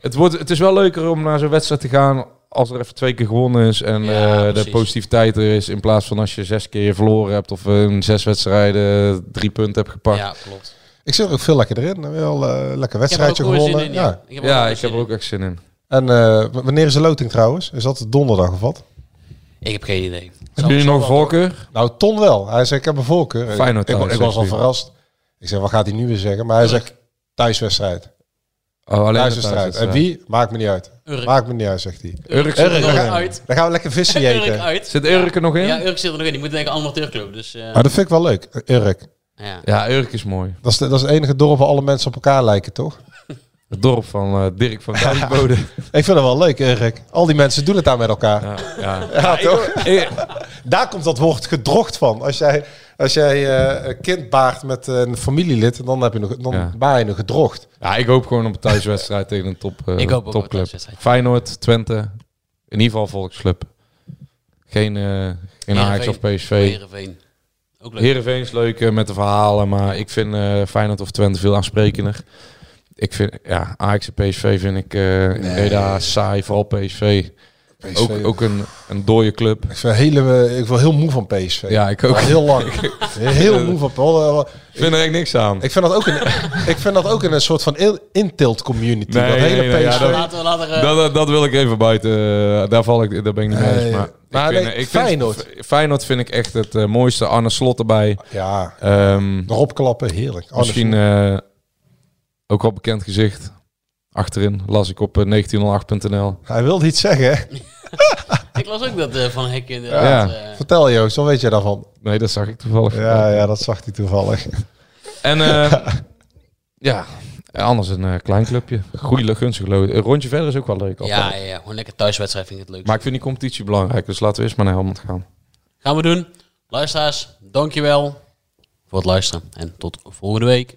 S2: het, wordt, het is wel leuker om naar zo'n wedstrijd te gaan als er even twee keer gewonnen is en
S5: Ja,
S2: eh, de
S5: precies.
S2: positiviteit er is. In plaats van als je zes keer verloren hebt of in zes wedstrijden drie punten hebt gepakt. Ja,
S5: ja, klopt.
S6: Ik zit er ook veel lekker in. Wel eh
S5: Ik
S6: lekker
S5: heb er ook
S6: wedstrijdje
S5: gewoon zin
S6: gewonnen.
S5: in,
S6: ja.
S5: ja. Ik heb, wel
S2: ik
S5: zin
S2: heb er ook
S5: in.
S2: echt zin in.
S6: En eh, w- wanneer is de loting trouwens? Is dat donderdag of wat?
S5: Ik heb geen idee. Zou-
S2: Hebben jullie
S5: zou
S2: nog
S5: wel-
S2: voorkeur?
S6: Nou, Ton wel. Hij zei, ik heb een voorkeur. Ik-
S2: Feyenoord
S6: ik,
S2: thuis,
S6: ik was
S2: zegt
S6: al
S2: hij.
S6: verrast. Ik zei, wat gaat hij nu weer zeggen? Maar hij zegt, thuiswedstrijd.
S2: Oh, alleen de
S6: Thuiswedstrijd. En
S2: thuiswedstrijd.
S6: wie? Maakt me niet uit.
S5: Urk.
S6: Maakt me niet uit, zegt hij.
S2: Urk zit,
S5: Urk
S6: Urk.
S5: nog uit.
S6: Dan gaan we lekker vissen
S5: [LAUGHS] Urk
S6: jeten.
S5: uit.
S2: zit Urk er nog in? Ah,
S5: Ja,
S2: Ja,
S5: Urk zit er nog in. Die moet denk ik amateurclub. Dus, eh,
S6: Maar dat vind ik wel leuk, Urk.
S5: ja.
S2: Urk is mooi.
S6: Dat is, de- dat is het enige dorp waar alle mensen op elkaar lijken, toch?
S2: Het dorp van eh, Dirk
S5: [LAUGHS]
S2: van Dijkbode.
S6: Ik vind het wel leuk, Urk. Al die mensen doen het daar met elkaar. [LAUGHS] Ja,
S2: ja, ja.
S6: toch?
S2: Ik-
S6: [LAUGHS] Daar komt dat woord gedrocht van. Als jij, als jij eh, een kind baart met een familielid, dan, heb je nog, dan
S2: Ja.
S6: baar je nog gedrocht.
S2: Ja, ik hoop gewoon op een thuiswedstrijd tegen een top, eh
S5: Ik hoop ook op een
S2: topclub.
S5: thuiswedstrijd.
S2: Feyenoord, Twente, in ieder geval Volksclub. Geen, eh geen Ajax of
S5: Heerenveen.
S2: PSV.
S5: Heerenveen. Ook leuk.
S2: Heerenveen is leuk eh, met de verhalen, maar ik vind eh Feyenoord of Twente veel aansprekender. Ik vind, ja, Ajax en PSV vind ik eh in Breda saai, vooral PSV.
S6: PSV.
S2: Ook, ook een, een dode club.
S6: Ik, vind hele, ik word heel moe van PSV.
S2: Ja, ik ook.
S6: Al Heel
S2: [LAUGHS]
S6: lang. heel moe van PSV.
S2: Ik vind er echt niks aan.
S6: Ik vind dat
S2: [LAUGHS]
S6: ook een, ik vind dat ook een soort van in- intilt community.
S2: Nee,
S6: dat hele
S2: nee, nee, ja,
S6: PSV.
S2: dat-
S5: Laten we later... eh,
S2: Dat, dat, dat wil ik even buiten. eh, daar, val ik, daar ben ik niet mee
S6: Nee.
S2: eens. Maar,
S6: Maar
S2: ik vind,
S6: nee,
S2: ik vind-
S6: Feyenoord.
S2: Feyenoord vind ik echt het eh, mooiste. Arne Slot erbij.
S6: ja,
S2: Ehm,
S6: erop klappen, heerlijk. Anders-
S2: misschien eh, ook wel bekend gezicht. Achterin las ik op eh, 1908.nl.
S6: Hij wilde iets zeggen. hè?
S2: [LAUGHS]
S5: Ik las ook dat eh, Van Hek inderdaad.
S2: Ja.
S5: eh,
S6: Vertel Joost, wat weet jij daarvan?
S2: Nee, dat zag ik toevallig.
S6: Ja, ja, dat zag hij toevallig.
S2: En
S6: [LAUGHS]
S2: eh, ja, anders een eh, klein clubje. Goeie, gunstig lood. Een rondje verder is ook wel leuk. altijd.
S5: ja, ja, ja, gewoon lekker thuiswedstrijd vind ik het leuk.
S2: Maar ik vind die competitie belangrijk. Dus laten we eerst maar naar Helmond gaan.
S5: Gaan we doen. Luisteraars, dankjewel voor het luisteren. En tot volgende week.